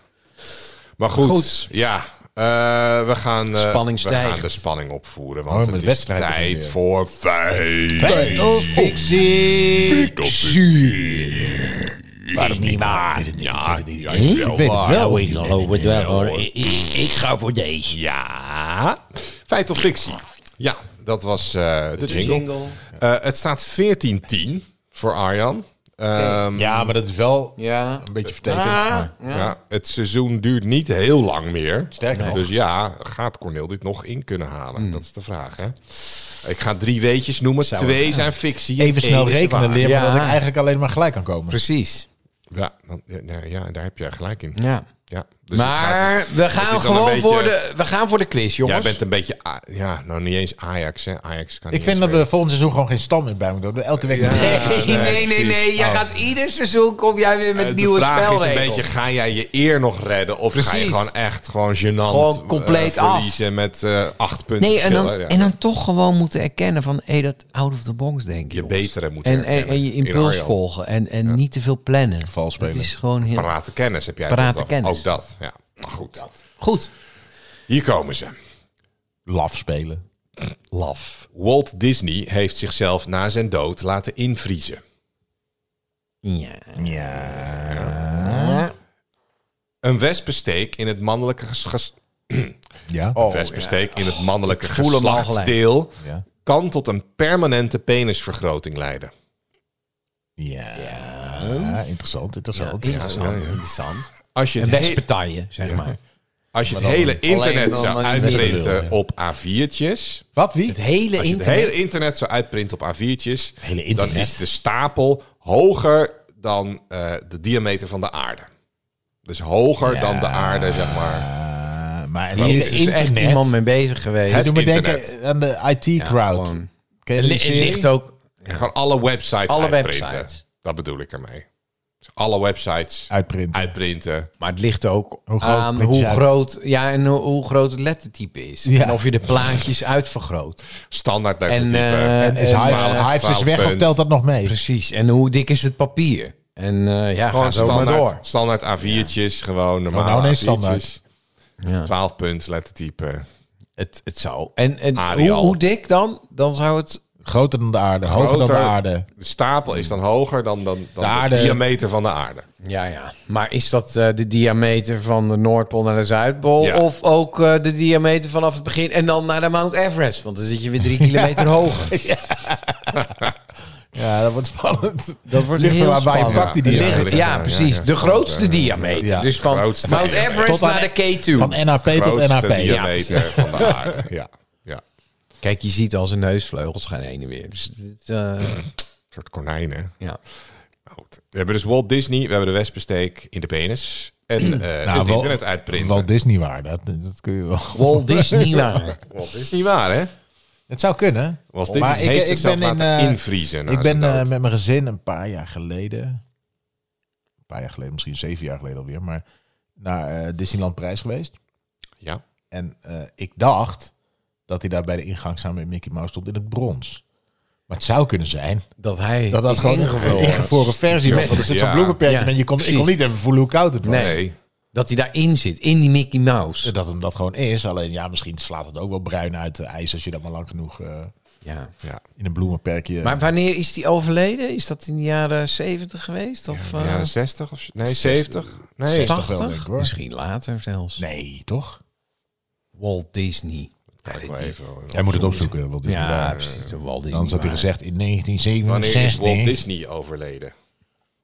S2: Maar goed,
S5: Goed.
S2: ja. eh, we, gaan, eh,
S5: Spanning
S2: we gaan
S5: stijgt.
S2: de spanning opvoeren,
S3: Oh,
S2: want
S3: met
S2: het is
S3: wedstrijden
S2: tijd
S3: weer.
S2: voor feit.
S3: Feit of fictie?
S2: Maar dat is niet
S3: Ah,
S2: waar. Ah, Ja, ja, wel
S3: Ik weet het
S2: waar.
S3: wel.
S4: Ik geloof het wel hoor. Ik, ik, ik ga voor deze.
S2: Ja. Feit of fictie? Ja, dat was eh, de, jingle.
S5: jingle.
S2: Eh, het staat 14-10 voor Arjan. Ehm,
S3: Ja, maar dat is wel
S5: Ja.
S3: een beetje
S2: Ah.
S3: vertekend. maar-
S2: ja. het seizoen duurt niet heel lang meer.
S3: Sterker nog.
S2: Dus ja, gaat Cornel dit nog in kunnen halen?
S3: Hmm.
S2: Dat is de vraag, hè? Ik ga drie weetjes noemen.
S5: Zou
S2: Twee zijn fictie. en
S3: Even snel
S2: één is
S3: rekenen
S2: waar.
S3: leren,
S5: Ja.
S3: maar dat ik eigenlijk alleen maar gelijk kan komen.
S5: Precies.
S2: Ja, dan- ja, nou ja, daar heb je gelijk in.
S5: Ja.
S2: Ja, dus het gaat-
S5: maar
S2: het
S5: we
S2: is dan
S5: gaan
S2: een
S5: gewoon
S2: beetje-
S5: voor de, we gaan voor de quiz,
S2: Jij
S5: jongens.
S2: bent een beetje... A- Ja, nou niet eens Ajax, hè? Ajax kan
S3: Ik
S2: niet
S3: vind
S2: eens
S3: dat we volgend seizoen gewoon geen stam meer bij moeten doen. Elke week.
S5: Nee, nee, nee, nee,
S2: precies.
S5: Jij
S2: Oh.
S5: gaat ieder seizoen kom jij weer met
S2: Eh,
S5: nieuwe
S2: de vraag is een
S5: spelregels.
S2: beetje, ga jij je eer nog redden? Of ga je
S5: Precies.
S2: gewoon echt gewoon gênant
S5: Gewoon compleet
S2: eh,
S5: af.
S2: verliezen met eh, acht punten
S5: nee, en dan,
S2: verschil, hè? Ja.
S5: en dan toch gewoon moeten erkennen van, hé, dat out of the box denken.
S2: je betere moet
S5: en, en,
S2: herkennen.
S5: en je
S2: In
S5: impuls
S2: Arjan.
S5: volgen en, en niet te veel plannen.
S3: Vals spelen.
S5: Dat is gewoon heel...
S2: Parate kennis heb jij.
S5: Parate
S2: dat al.
S5: kennis.
S2: Ook dat, ja. Maar goed,
S5: Goed.
S2: hier komen ze.
S3: Laf spelen.
S5: Laf.
S2: Walt Disney heeft zichzelf na zijn dood laten invriezen.
S5: Ja.
S2: Een wespensteek in het mannelijke ges- ges-
S3: Ja.
S2: een wespensteek in het mannelijke
S5: Oh, voel hem al gelijk.
S2: geslachtsdeel
S3: Ja.
S2: kan tot een permanente penisvergroting leiden.
S3: Ja. Interessant, interessant.
S5: Interessant, interessant.
S2: Als je
S5: En
S2: het he-
S5: wespenpartijen, zeg maar.
S2: Als je het hele internet
S5: dan
S2: zou
S5: maar niet
S2: uitprinten op A4'tjes.
S3: Wat, wie?
S5: Het hele
S2: Als je het
S5: internet.
S2: hele internet zou uitprinten op A4'tjes.
S4: hele
S2: Dan
S4: internet.
S2: is de stapel hoger dan eh, de diameter van de aarde. Dus hoger dan de aarde, zeg maar.
S3: Eh, maar
S5: Hier
S3: het
S5: is dus
S3: is echt
S5: echt
S3: net.
S5: iemand mee bezig geweest.
S2: Het
S3: doet me
S2: internet.
S3: denken aan de IT-crowd.
S5: gewoon.
S3: Ken je
S5: Het
S3: die
S5: li- het
S3: serie?
S5: ligt ook.
S2: Gewoon alle websites
S5: Alle
S2: uitprinten.
S5: websites.
S2: Dat bedoel ik ermee. Dus alle websites
S3: Uitprinten.
S2: uitprinten.
S5: Maar het ligt ook
S3: Hoe groot
S5: aan
S3: print je
S5: hoe
S3: uit?
S5: groot, ja, en hoe, hoe groot het lettertype is.
S3: Ja.
S5: En of je de plaatjes uitvergroot.
S2: Standaard
S5: En,
S2: lettertype.
S5: eh,
S3: En is
S5: En
S3: Hive-
S2: twaalf-
S3: Hives is
S2: twaalf
S3: weg of
S2: punt.
S3: telt dus dat nog mee?
S5: Precies. En hoe dik is het papier? En eh, ja,
S2: Gewoon
S5: ga zo maar door.
S2: standaard, standaard A4'tjes, gewoon normaal
S3: nou ineens
S2: A4'tjes.
S3: standaard.
S5: Ja.
S2: 12 punt lettertype.
S5: Het, het zou. En, en hoe,
S2: Arial.
S5: hoe dik dan? Dan zou het...
S3: Groter dan de aarde, hoger dan
S2: Groter.
S3: de aarde.
S2: De stapel is dan hoger dan, dan, dan de,
S3: aarde.
S2: diameter van de aarde.
S5: Ja, ja. Maar is dat eh, de diameter van de Noordpool naar de Zuidpool?
S2: Ja.
S5: Of ook eh, de diameter vanaf het begin en dan naar de Mount Everest? Want dan zit je weer drie kilometer hoger.
S3: Ja, dat wordt spannend.
S5: Dat wordt
S3: Ligt er
S5: heel
S3: waar- waar je
S5: spannend.
S3: pakt die
S5: Het
S2: diameter.
S5: ligt- Ja,
S2: Ja,
S5: precies.
S2: ja, ja.
S5: De grootste diameter.
S3: Ja.
S5: Dus van
S2: Grootste
S5: Mount
S2: diameter.
S5: Everest
S3: Tot aan-
S5: naar de K2.
S3: Van NAP tot
S2: Grootste
S3: NAP. Ja.
S2: diameter van de aarde. Ja. ja. Een
S5: Kijk, je ziet al zijn neusvleugels gaan heen en weer. Dus dit, eh,
S2: soort konijnen.
S5: ja.
S2: Goed. We hebben dus Walt Disney, we hebben de wespensteek in de penis. En eh,
S3: Nou,
S2: het
S3: wel-
S2: internet uitprinten.
S3: Walt Disney waar, dat, dat kun je wel.
S5: Walt Disney waar.
S2: Walt Disney waar, hè?
S3: Het zou kunnen.
S2: Walt Disney
S3: Maar ik-
S2: heeft
S3: ik
S2: zichzelf
S3: ben in,
S2: laten
S3: eh,
S2: invriezen. na
S3: ik ben
S2: zijn
S3: eh,
S2: dood.
S3: met mijn gezin een paar jaar geleden, een paar jaar geleden, misschien zeven jaar geleden alweer, maar naar eh, Disneyland Prijs geweest.
S2: Ja.
S3: En eh, ik dacht dat hij daar bij de ingang samen met Mickey Mouse stond in het brons. Maar het zou kunnen zijn
S5: Dat hij
S3: dat dat
S5: is
S3: gewoon een
S5: ingevuld.
S3: ingevroren versie was. Want er zit zo'n
S2: Ja.
S3: bloemenperk in
S5: Ja,
S3: en je kon, ik kon
S5: precies.
S3: niet even voelen hoe koud het was. Dus, eh,
S5: Nee.
S2: Nee.
S5: Dat hij daarin zit, in die Mickey Mouse.
S3: Dat hem dat gewoon is. Alleen ja, misschien slaat het ook wel bruin uit de ijs als je dat maar lang genoeg eh,
S5: Ja.
S2: Ja.
S3: in een bloemenperkje...
S5: Maar wanneer is die overleden? Is dat in de jaren 70 geweest? Of
S3: Ah.
S2: In de
S5: eh,
S2: jaren 60 of nee, 70? Nee,
S5: 80?
S3: toch wel, denk ik, hoor.
S5: Misschien later zelfs.
S3: nee, toch?
S5: Walt Disney.
S2: Kijk wel even.
S3: Jij moet het opzoeken, want het is
S5: Ja,
S3: belangrijk.
S5: precies. de Walt Disney.
S3: Dan had hij
S5: waar.
S3: gezegd in
S2: Wanneer is
S3: 1967.
S2: Walt Disney overleden?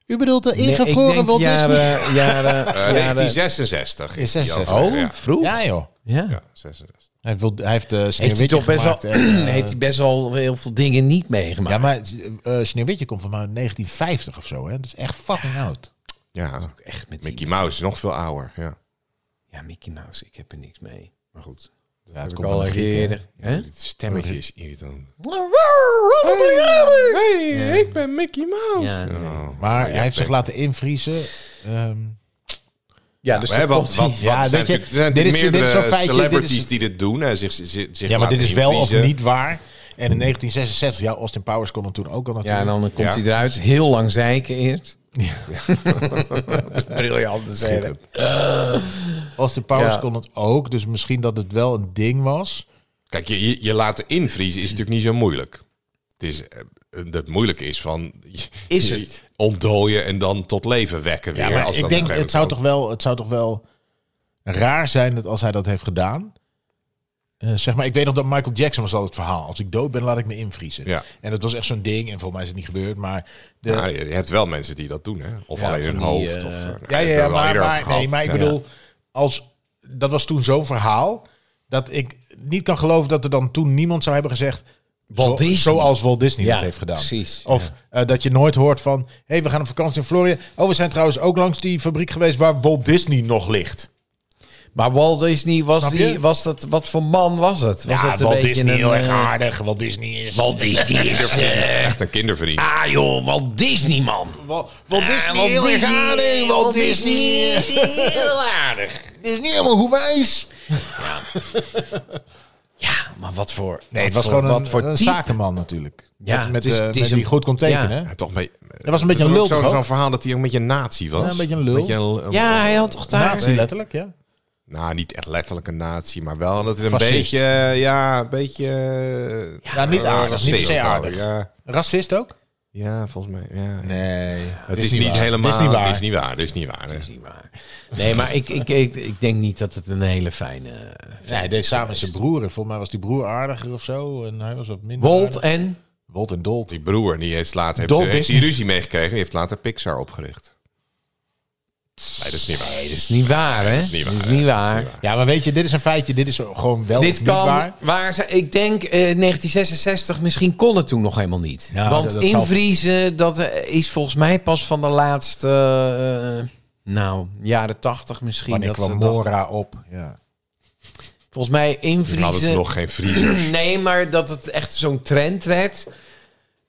S3: U bedoelt de
S5: Nee, ik
S3: ingevroren
S5: denk
S3: Walt Disney?
S5: jaren, jaren,
S2: Eh,
S5: jaren...
S2: 1966. is
S3: Is
S2: die
S3: 66.
S2: overleden,
S5: Oh,
S2: ja.
S5: vroeg? Ja.
S3: Ja joh.
S2: Ja, 66.
S3: Hij, wil, hij heeft eh
S5: Heeft hij
S3: Sneeuwwitje
S5: toch best wel,
S3: gemaakt. en, eh,
S5: heeft hij best wel heel veel dingen niet meegemaakt.
S3: ja, maar eh, Sneeuwwitje komt van mij uit 1950 of zo. Hè? Dat is echt fucking oud.
S2: Ja,
S5: Echt met die-
S2: Mickey Mouse is nog veel ouder. Ja.
S5: Ja, Mickey Mouse, ik heb er niks mee. Maar goed. Dat
S3: het
S5: heb ik
S3: komt
S5: al
S3: van de
S5: een keer
S3: Grieken,
S5: eerder. Hè?
S2: Oh, Dit stemmetje is irritant. ik ben Mickey Mouse. Oh.
S5: Ja, nee.
S3: Maar hij heeft zich laten invriezen. Ehm, Nou,
S5: Ja, dus
S2: Hè,
S5: dat
S2: want,
S5: komt-
S2: want,
S3: Ja,
S2: want er zijn
S3: weet je,
S2: natuurlijk, er zijn
S3: dit is-
S2: natuurlijk
S3: dit is zo'n
S2: meerdere
S3: feitje, dit is-
S2: celebrities die dit doen. En zich, zich, zich
S3: ja, maar dit
S2: laten
S3: is wel of
S2: invriezen.
S3: niet waar. En in 1966, ja, Austin Powers kon hem toen ook al
S5: Ja,
S3: natuurlijk.
S5: en dan komt
S2: Ja.
S5: hij eruit. Heel lang zeiken eerst. Briljant te zeggen.
S3: Austin Powers
S5: Ja.
S3: kon het ook. Dus misschien dat het wel een ding was.
S2: Kijk, je, je, je laten invriezen is natuurlijk niet zo moeilijk. Het, is, eh, het moeilijke is van...
S5: Is
S2: je
S5: het?
S2: Ontdooien en dan tot leven wekken weer.
S3: Ja, maar
S2: als
S3: ik
S2: dat op
S3: denk,
S2: een gegeven
S3: het zou,
S2: moment
S3: toch wel, het zou toch wel raar zijn dat als hij dat heeft gedaan. eh, zeg maar, ik weet nog dat Michael Jackson was al het verhaal. Als ik dood ben, laat ik me invriezen.
S2: Ja.
S3: En dat was echt zo'n ding. En volgens mij is het niet gebeurd. Maar de,
S2: Nou, je je hebt wel mensen die dat doen, hè? Of
S5: Ja,
S2: alleen
S5: van
S2: hun
S5: die,
S2: hoofd.
S5: eh,
S2: of, eh, nou, dat
S3: ja, ja,
S2: hebben we al
S3: maar,
S2: eerder over
S3: maar,
S2: gehad.
S3: nee, maar ik
S2: Ja.
S3: bedoel, als, dat was toen zo'n verhaal. Dat ik niet kan geloven dat er dan toen niemand zou hebben gezegd.
S5: Walt
S3: zo-
S5: Disney.
S3: zoals Walt Disney
S5: Ja,
S3: dat heeft gedaan.
S5: precies,
S3: Of eh, dat je nooit hoort van... hé, hey, we gaan op vakantie in Florida. Oh, we zijn trouwens ook langs die fabriek geweest... waar Walt Disney nog ligt.
S5: Maar Walt Disney, was,
S3: Snap
S5: die,
S3: je?
S5: was dat, wat voor man was het? Was
S3: ja,
S5: dat
S3: Walt Disney heel
S5: eh,
S3: erg aardig. Walt Disney is...
S4: Walt Disney is... eh,
S2: Echt een kindervriend.
S4: ah joh, Walt Disney man.
S3: Walt, Walt Disney
S4: Walt
S3: heel erg
S4: Disney,
S3: aardig. Walt Disney
S4: is heel aardig.
S3: is niet helemaal hoe wijs.
S5: Ja, maar wat voor...
S3: Nee, het
S5: wat
S3: was
S5: voor-
S3: gewoon een,
S5: wat voor
S3: een
S5: type?
S3: zakenman natuurlijk.
S5: Ja,
S3: met,
S5: het
S3: met,
S5: is-
S3: eh,
S5: het is
S3: met
S5: een-
S3: die goed kon tekenen.
S5: ja.
S3: hè?
S2: Ja, toch mee, dat
S3: was een beetje een lul, toch
S2: Zo'n
S3: ook?
S2: zo'n verhaal dat hij ook een beetje nazi was.
S3: Ja, een beetje een lul.
S2: een-
S5: Ja, hij had toch daar...
S3: Nazi letterlijk, ja.
S2: Nou, niet echt letterlijk een nazi, maar wel dat het een
S3: Fascist.
S2: beetje... eh, Ja, een beetje... eh,
S3: Ja, Nou, niet aardig,
S2: racist
S3: niet per se
S2: ook,
S3: aardig.
S2: Ja,
S3: Racist ook?
S2: ja, volgens mij. Ja.
S3: Nee.
S2: Het is, niet,
S3: waar.
S2: helemaal...
S3: Het is niet waar.
S2: Het is niet waar. Het is niet waar. hè.
S5: Dat is niet waar. Nee, maar ik, ik, ik, ik denk niet dat het een hele fijne... eh, fijne
S3: Nee, hij deed samen met zijn broer. En Volgens mij was die broer aardiger of zo. En hij was wat minder
S5: Walt
S3: aardig.
S5: en...
S3: Walt en Dolt.
S2: Die broer, die heeft later heeft,
S3: Dolt
S2: heeft die
S3: Disney.
S2: ruzie meegekregen. Die heeft later Pixar opgericht. Nee, dat is niet waar.
S5: Nee, dat is niet waar, hè? Dat
S2: is niet waar,
S5: Dat
S2: hè?
S5: is niet waar.
S3: Ja, maar weet je, dit is een feitje. Dit is gewoon wel of
S5: Dit
S3: niet
S5: kan, waar?
S3: waar.
S5: ze, ik denk eh, 1966, misschien kon het toen nog helemaal niet.
S3: Ja,
S5: Want
S3: dat- dat zal-
S5: invriezen, dat eh, is volgens mij pas van de laatste, eh, nou, jaren 80 misschien.
S3: Wanneer
S5: dat
S3: kwam
S5: ze dat-
S3: Mora op? Ja.
S5: volgens mij
S2: Toen hadden ze
S5: invriezen.
S2: nog geen vriezers.
S5: Nee, maar dat het echt zo'n trend werd.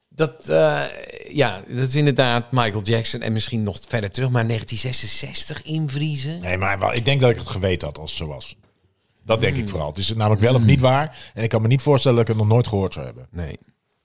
S5: Dat, eh, ja, dat is inderdaad Michael Jackson en misschien nog verder terug, maar 1966 invriezen.
S3: Nee, maar wel- ik denk dat ik het geweten had als het zo was. Dat denk
S5: Hmm.
S3: ik vooral. Het is namelijk wel of niet waar. En ik kan me niet voorstellen dat ik het nog nooit gehoord zou hebben.
S5: Nee.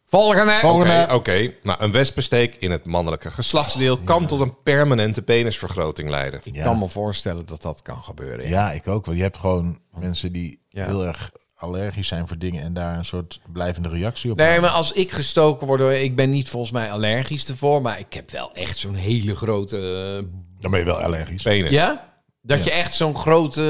S5: Volgende.
S2: Oké,
S3: Oh,
S2: oké. nou, een wespensteek in het mannelijke geslachtsdeel kan tot een permanente penisvergroting leiden.
S5: Ik kan me voorstellen dat dat kan gebeuren. ja.
S3: Ja, ik ook. Want je hebt gewoon mensen die
S5: Ja.
S3: heel erg allergisch zijn voor dingen en daar een soort blijvende reactie op
S5: Nee,
S3: hebben.
S5: maar als ik gestoken word, door- ik ben niet volgens mij allergisch ervoor, maar ik heb wel echt zo'n hele grote. eh,
S3: Dan ben je wel allergisch.
S2: Penis.
S5: ja? Dat je echt zo'n grote.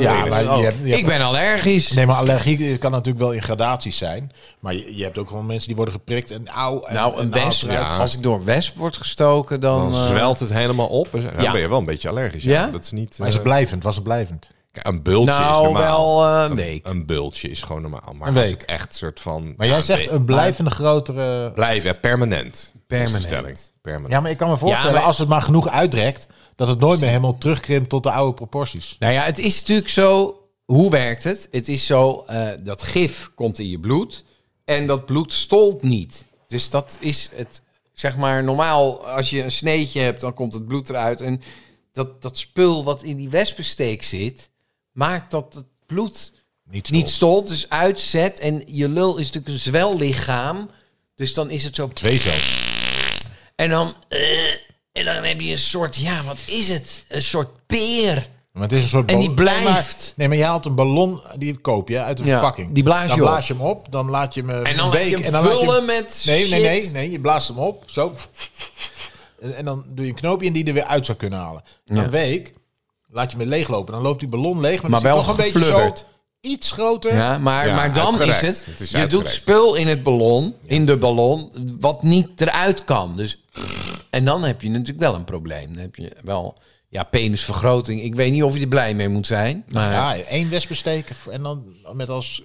S3: Ja,
S5: Oh,
S3: maar je hebt- je hebt-
S5: ik ben allergisch.
S3: Nee, maar allergie kan natuurlijk wel in gradaties zijn. Maar je, je hebt ook gewoon mensen die worden geprikt en auw. En,
S5: nou, een
S3: en auw
S5: wesp.
S3: eruit.
S5: Als ik door een wesp word gestoken, dan.
S2: Dan
S5: eh,
S2: zwelt het helemaal op. en Dan
S5: ja.
S2: ben je wel een beetje allergisch. Ja?
S5: Ja?
S2: Dat is niet...
S3: Maar is
S2: eh,
S3: het blijvend? Was het blijvend?
S2: kijk, een bultje is
S5: nou,
S2: normaal. Oh.
S5: wel eh, een week.
S2: Een bultje is gewoon normaal. Maar
S3: Een
S2: als
S3: week.
S2: het echt soort van...
S3: Maar
S2: ja,
S3: jij
S2: een
S3: zegt
S2: week-
S3: een blijvende grotere...
S2: Blijven, hè, permanent.
S5: Permanent.
S2: Dat is de stelling. Permanent.
S3: Ja, maar ik kan me voorstellen,
S5: maar-
S3: als het maar genoeg uitrekt, dat het nooit meer helemaal terugkrimpt tot de oude proporties.
S5: Nou ja, het is natuurlijk zo. Hoe werkt het? Het is zo, eh, dat gif komt in je bloed en dat bloed stolt niet. Dus dat is het, zeg maar, normaal als je een sneetje hebt, dan komt het bloed eruit. En dat, dat spul wat in die wespensteek zit, maakt dat het bloed
S3: Niet stom.
S2: Oh.
S5: niet stolt, dus uitzet. En je lul is natuurlijk een zwellichaam, dus dan is het zo...
S3: Twee zelfs.
S5: En dan, eh, en dan heb je een soort, ja, wat is het? Een soort peer.
S3: Maar het is een soort
S5: En die
S3: ballon-
S5: blijft.
S3: Nee, maar, nee, maar je haalt een ballon, die koop je uit de
S5: Ja,
S3: verpakking.
S5: die blaas je
S3: dan
S5: op.
S3: blaas je hem op, dan laat je hem eh,
S5: En dan
S3: een
S5: laat
S3: week.
S5: je hem
S3: en dan laat je
S5: vullen
S3: hem-
S5: met
S3: nee, nee, nee,
S5: shit.
S3: nee, je blaast hem op, zo. En, en dan doe je een knoopje in die je er weer uit zou kunnen halen. Na
S5: Ja.
S3: Een week laat je hem weer leeglopen, dan loopt die ballon leeg, maar,
S5: Maar
S3: dan is
S5: wel
S3: hij toch een beetje
S5: gefludderd.
S3: zo iets groter.
S5: Ja, maar,
S2: Ja,
S5: maar dan
S2: uitgereikt.
S5: is het.
S2: Het is
S5: je
S2: uitgereikt.
S5: doet spul in het ballon, in de ballon, wat niet eruit kan. Dus, en dan heb je natuurlijk wel een probleem. Dan heb je wel. Ja, penisvergroting. Ik weet niet of je er blij mee moet zijn. Maar
S3: Nou Ja, één wespensteek en dan met als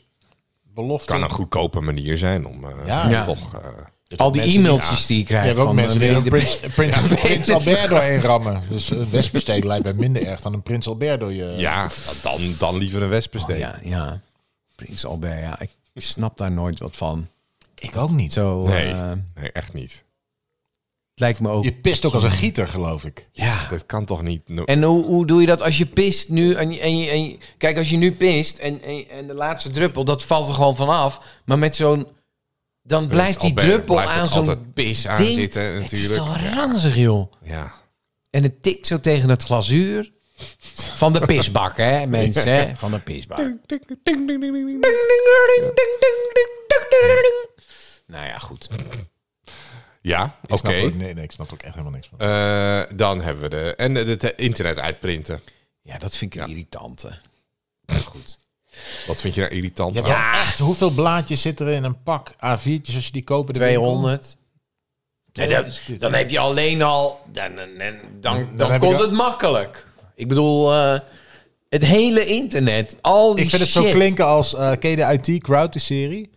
S3: belofte.
S2: kan een goedkope manier zijn om eh,
S3: Ja.
S5: Ja.
S2: toch... eh,
S3: Dus
S5: al die e-mailtjes die je
S3: Je
S5: krijgt.
S3: hebt ook
S5: van,
S3: mensen
S5: eh,
S3: die
S5: wil
S3: een
S5: je
S3: prins, prins, prins
S5: het
S3: Albert doorheen rammen. Dus een wespensteek lijkt mij minder erg dan een prins Albert door je...
S2: ja, dan, dan liever een
S5: de-
S2: wespensteek.
S5: Oh, Ja, ja. Prins Albert, ja. Ik snap daar nooit wat van.
S3: Ik ook niet.
S5: Zo,
S2: Nee,
S5: eh, het
S2: nee, echt niet.
S5: lijkt me ook.
S3: Je pist ook als een gieter, geloof ik.
S2: Ja, dat kan toch niet... No-
S5: En hoe, hoe doe je dat als je pist nu? En, je- en, je- en je- kijk, als je nu pist en, en, en de laatste druppel, dat valt er gewoon vanaf. Maar met zo'n... Dan blijft die
S2: Albert
S5: druppel
S2: blijft
S5: aan
S2: ook
S5: zo'n
S2: altijd pis aan
S5: ding.
S2: zitten,
S5: Het is
S2: natuurlijk.
S5: toch
S2: Ja.
S5: ranzig, joh.
S2: Ja.
S5: En het tikt zo tegen het glazuur. Van de pisbak, hè, mensen. Hè? Van de pisbak. Nou ja, goed.
S2: Ja, oké.
S3: Ik snap ook- Nee, nee, ik snap er ook echt helemaal niks van.
S2: Eh, dan hebben we de... En het internet uitprinten.
S5: Ja, dat vind ik een irritante. Goed.
S2: Wat vind je nou irritant?
S3: Ja,
S2: aan?
S3: echt, hoeveel blaadjes zit er in een pak A4'tjes als je die kopen?
S5: 200.
S4: Nee, dan, dan heb je alleen al... Dan, dan, dan, dan-
S5: dan,
S3: heb
S5: komt
S3: ik al-
S5: het makkelijk. Ik bedoel, eh, het hele internet, al die
S3: Ik vind het zo
S5: shit.
S3: klinken als eh ken je de IT Crowd, de serie?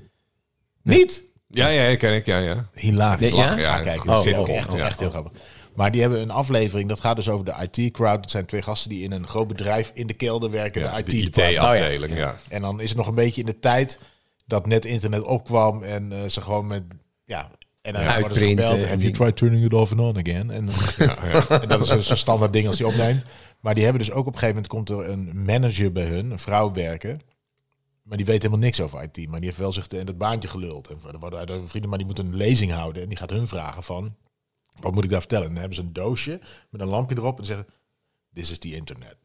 S3: Niet?
S2: Ja, ja, ken ik, ja, ja.
S3: Hilarisch.
S5: Ja?
S3: Lachen,
S2: Ja,
S3: Ja, kijk,
S2: goed
S3: dat
S2: sitcom,
S3: ook echt,
S2: ja.
S3: echt heel grappig. Maar die hebben een aflevering, dat gaat dus over de IT-crowd. Dat zijn twee gasten die in een groot bedrijf in de kelder werken.
S2: ja
S3: de
S2: de
S3: IT-departement.
S2: IT-afdeling, ja.
S3: En dan is het nog een beetje in de tijd dat net internet opkwam en eh, ze gewoon met ja en dan worden ze
S5: Uitprinten
S3: gebeld.
S5: en
S3: Have you
S5: die-
S3: tried turning it off and on again? En, en dat is dus een standaard ding als die opneemt. Maar die hebben dus ook op een gegeven moment komt er een manager bij hun, een vrouw werken. Maar die weet helemaal niks over IT. Maar die heeft wel zich in dat baantje geluld. En er worden uit een vrienden, maar die moet een lezing houden. En die gaat hun vragen van, wat moet ik daar vertellen? En dan hebben ze een doosje met een lampje erop en zeggen, this is the internet.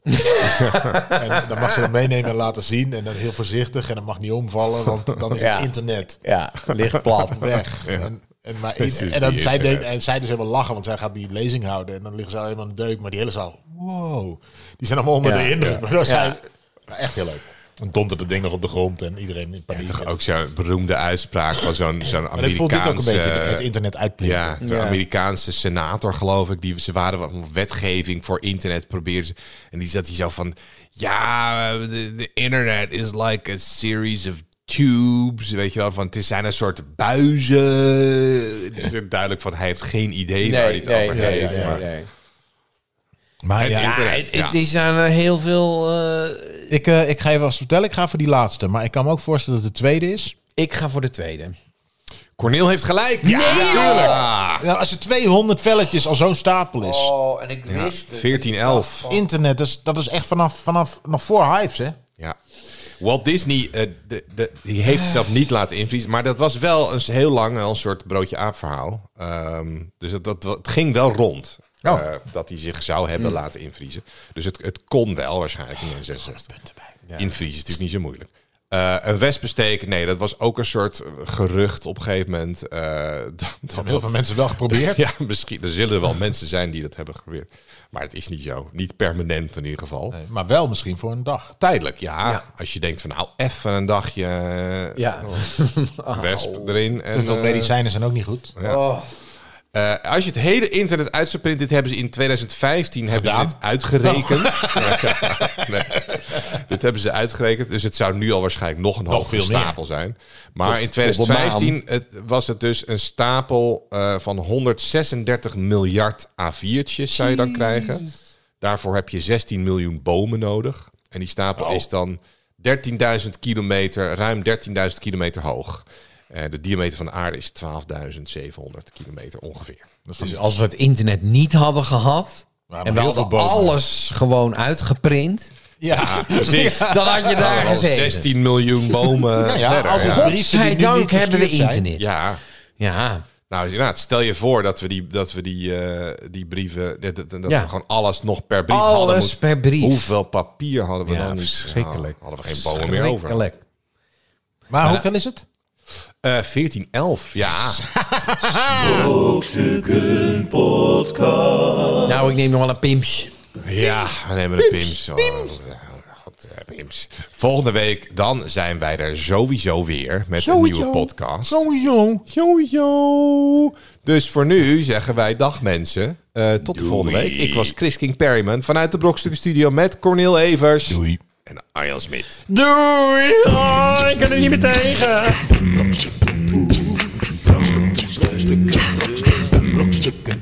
S3: En dan mag ze dat meenemen en laten zien. En dan heel voorzichtig. En dat mag niet omvallen, want dan is
S5: Ja.
S3: het internet
S5: Ja, ligt plat.
S3: weg. En, en, maar
S2: This
S3: en
S2: is
S3: dan
S2: the
S3: zij
S2: internet.
S3: denkt, en zij dus helemaal lachen, want zij gaat die lezing houden. En dan liggen ze al helemaal in de deuk. Maar die hele zaal, wow. Die zijn allemaal onder
S5: Ja,
S3: de indruk. Maar dat
S5: Ja.
S3: zijn, maar echt heel leuk. Dan dondert het ding nog op de grond en iedereen in paniek.
S2: Toch ook zo'n beroemde uitspraak van zo'n zo'n
S3: maar dat voelt dit ook een
S2: Amerikaanse...
S3: beetje het internet uitplinken.
S2: Ja, de
S5: Ja.
S2: Amerikaanse senator, geloof ik. Die, ze waren wat wetgeving voor internet proberen ze. En die zat hier zo van... Ja, de de internet is like a series of tubes. Weet je wel, van het is- zijn een soort buizen. Het is ook duidelijk van, hij heeft geen idee waar
S3: Nou,
S2: hij het over heeft. maar
S3: Maar
S2: Het
S3: ja,
S2: internet, ja.
S5: Het is aan eh, heel veel... eh,
S3: ik, eh, ik ga je wel eens vertellen. Ik ga voor die laatste. Maar ik kan me ook voorstellen dat het de tweede is.
S5: ik ga voor de tweede.
S2: Cornel heeft gelijk. Ja, natuurlijk.
S3: Nou, als er 200 velletjes al zo'n stapel is.
S4: Oh, en ik wist het.
S2: 1411.
S3: Internet, dat is, dat is echt vanaf, vanaf nog voor Hives, hè?
S2: Ja. Walt Disney eh, de, de, die
S3: Ah.
S2: heeft zichzelf niet laten invriezen. Maar dat was wel een s- heel lang wel een soort broodje aap verhaal. Ehm, dus dat, dat, het ging wel rond.
S3: Oh.
S2: eh, dat hij zich zou hebben
S3: Hmm.
S2: laten invriezen. Dus het, het kon wel waarschijnlijk in 1966. Invriezen is natuurlijk niet zo moeilijk. Eh, een wespensteek, nee, dat was ook een soort eh, gerucht op een gegeven moment. eh, dat, dat
S3: Heel veel mensen wel geprobeerd.
S2: ja, misschien. Er zullen wel mensen zijn die dat hebben geprobeerd. Maar het is niet zo. Niet permanent in ieder geval.
S3: Maar wel misschien voor een dag.
S2: Tijdelijk, ja. Als je denkt van nou, even een dagje eh,
S5: Ja.
S3: Oh,
S2: wesp erin. En,
S3: Te veel
S2: eh,
S3: medicijnen zijn ook niet goed.
S5: Oh.
S2: eh, als je het hele internet uit zou printen, dit hebben ze in 2015 hebben ze dit uitgerekend.
S3: Oh.
S2: nee, dit hebben ze uitgerekend. Dus het zou nu al waarschijnlijk nog een hogere
S3: veel meer.
S2: stapel zijn. Maar in 2015 het, was het dus een stapel eh, van 136 miljard A4'tjes zou je dan krijgen. Daarvoor heb je 16 miljoen bomen nodig. En die stapel is dan 13.000 kilometer, ruim 13.000 kilometer hoog. Eh, de diameter van de aarde is 12.700 kilometer ongeveer.
S5: Dus als we het internet niet hadden gehad...
S3: Waarom
S5: en we
S3: heel veel
S5: hadden
S3: bomen?
S5: alles gewoon uitgeprint...
S3: Ja,
S2: Precies.
S5: dan had je daar
S2: Al
S5: gezeten.
S2: 16 miljoen bomen verder.
S3: als
S2: ja.
S3: een brief- die nu
S5: Godzijdank
S3: niet
S5: hebben we
S3: verstuurd zijn.
S5: internet. Ja.
S2: Ja. Nou, inderdaad, stel je voor dat we die, dat we die, eh, die brieven, dat, dat, dat
S5: Ja.
S2: we gewoon alles nog per brief
S5: Alles
S2: hadden. moeten-
S5: per brief.
S2: Hoeveel papier hadden we
S5: Ja,
S2: dan niet?
S5: verschrikkelijk.
S2: Ja, hadden we geen bomen meer over.
S5: Schrikkelijk.
S3: maar hoeveel is het?
S2: Eh 1411, ja.
S5: Nou, ik neem nog wel een pimps.
S2: Ja, we nemen de Pims. Oh, God, eh, Pims. Volgende week dan zijn wij er sowieso weer met een nieuwe podcast. Sowieso. Sowieso. Dus voor nu zeggen wij dag mensen. Eh, tot de volgende week. Ik was Chris King Perryman vanuit de Brokstukken Studio met Cornel Evers. Doei. En Arjan Smit.
S6: Doei! Oh, ik kan er niet meer tegen.
S7: Brokstukken. Brokstukken.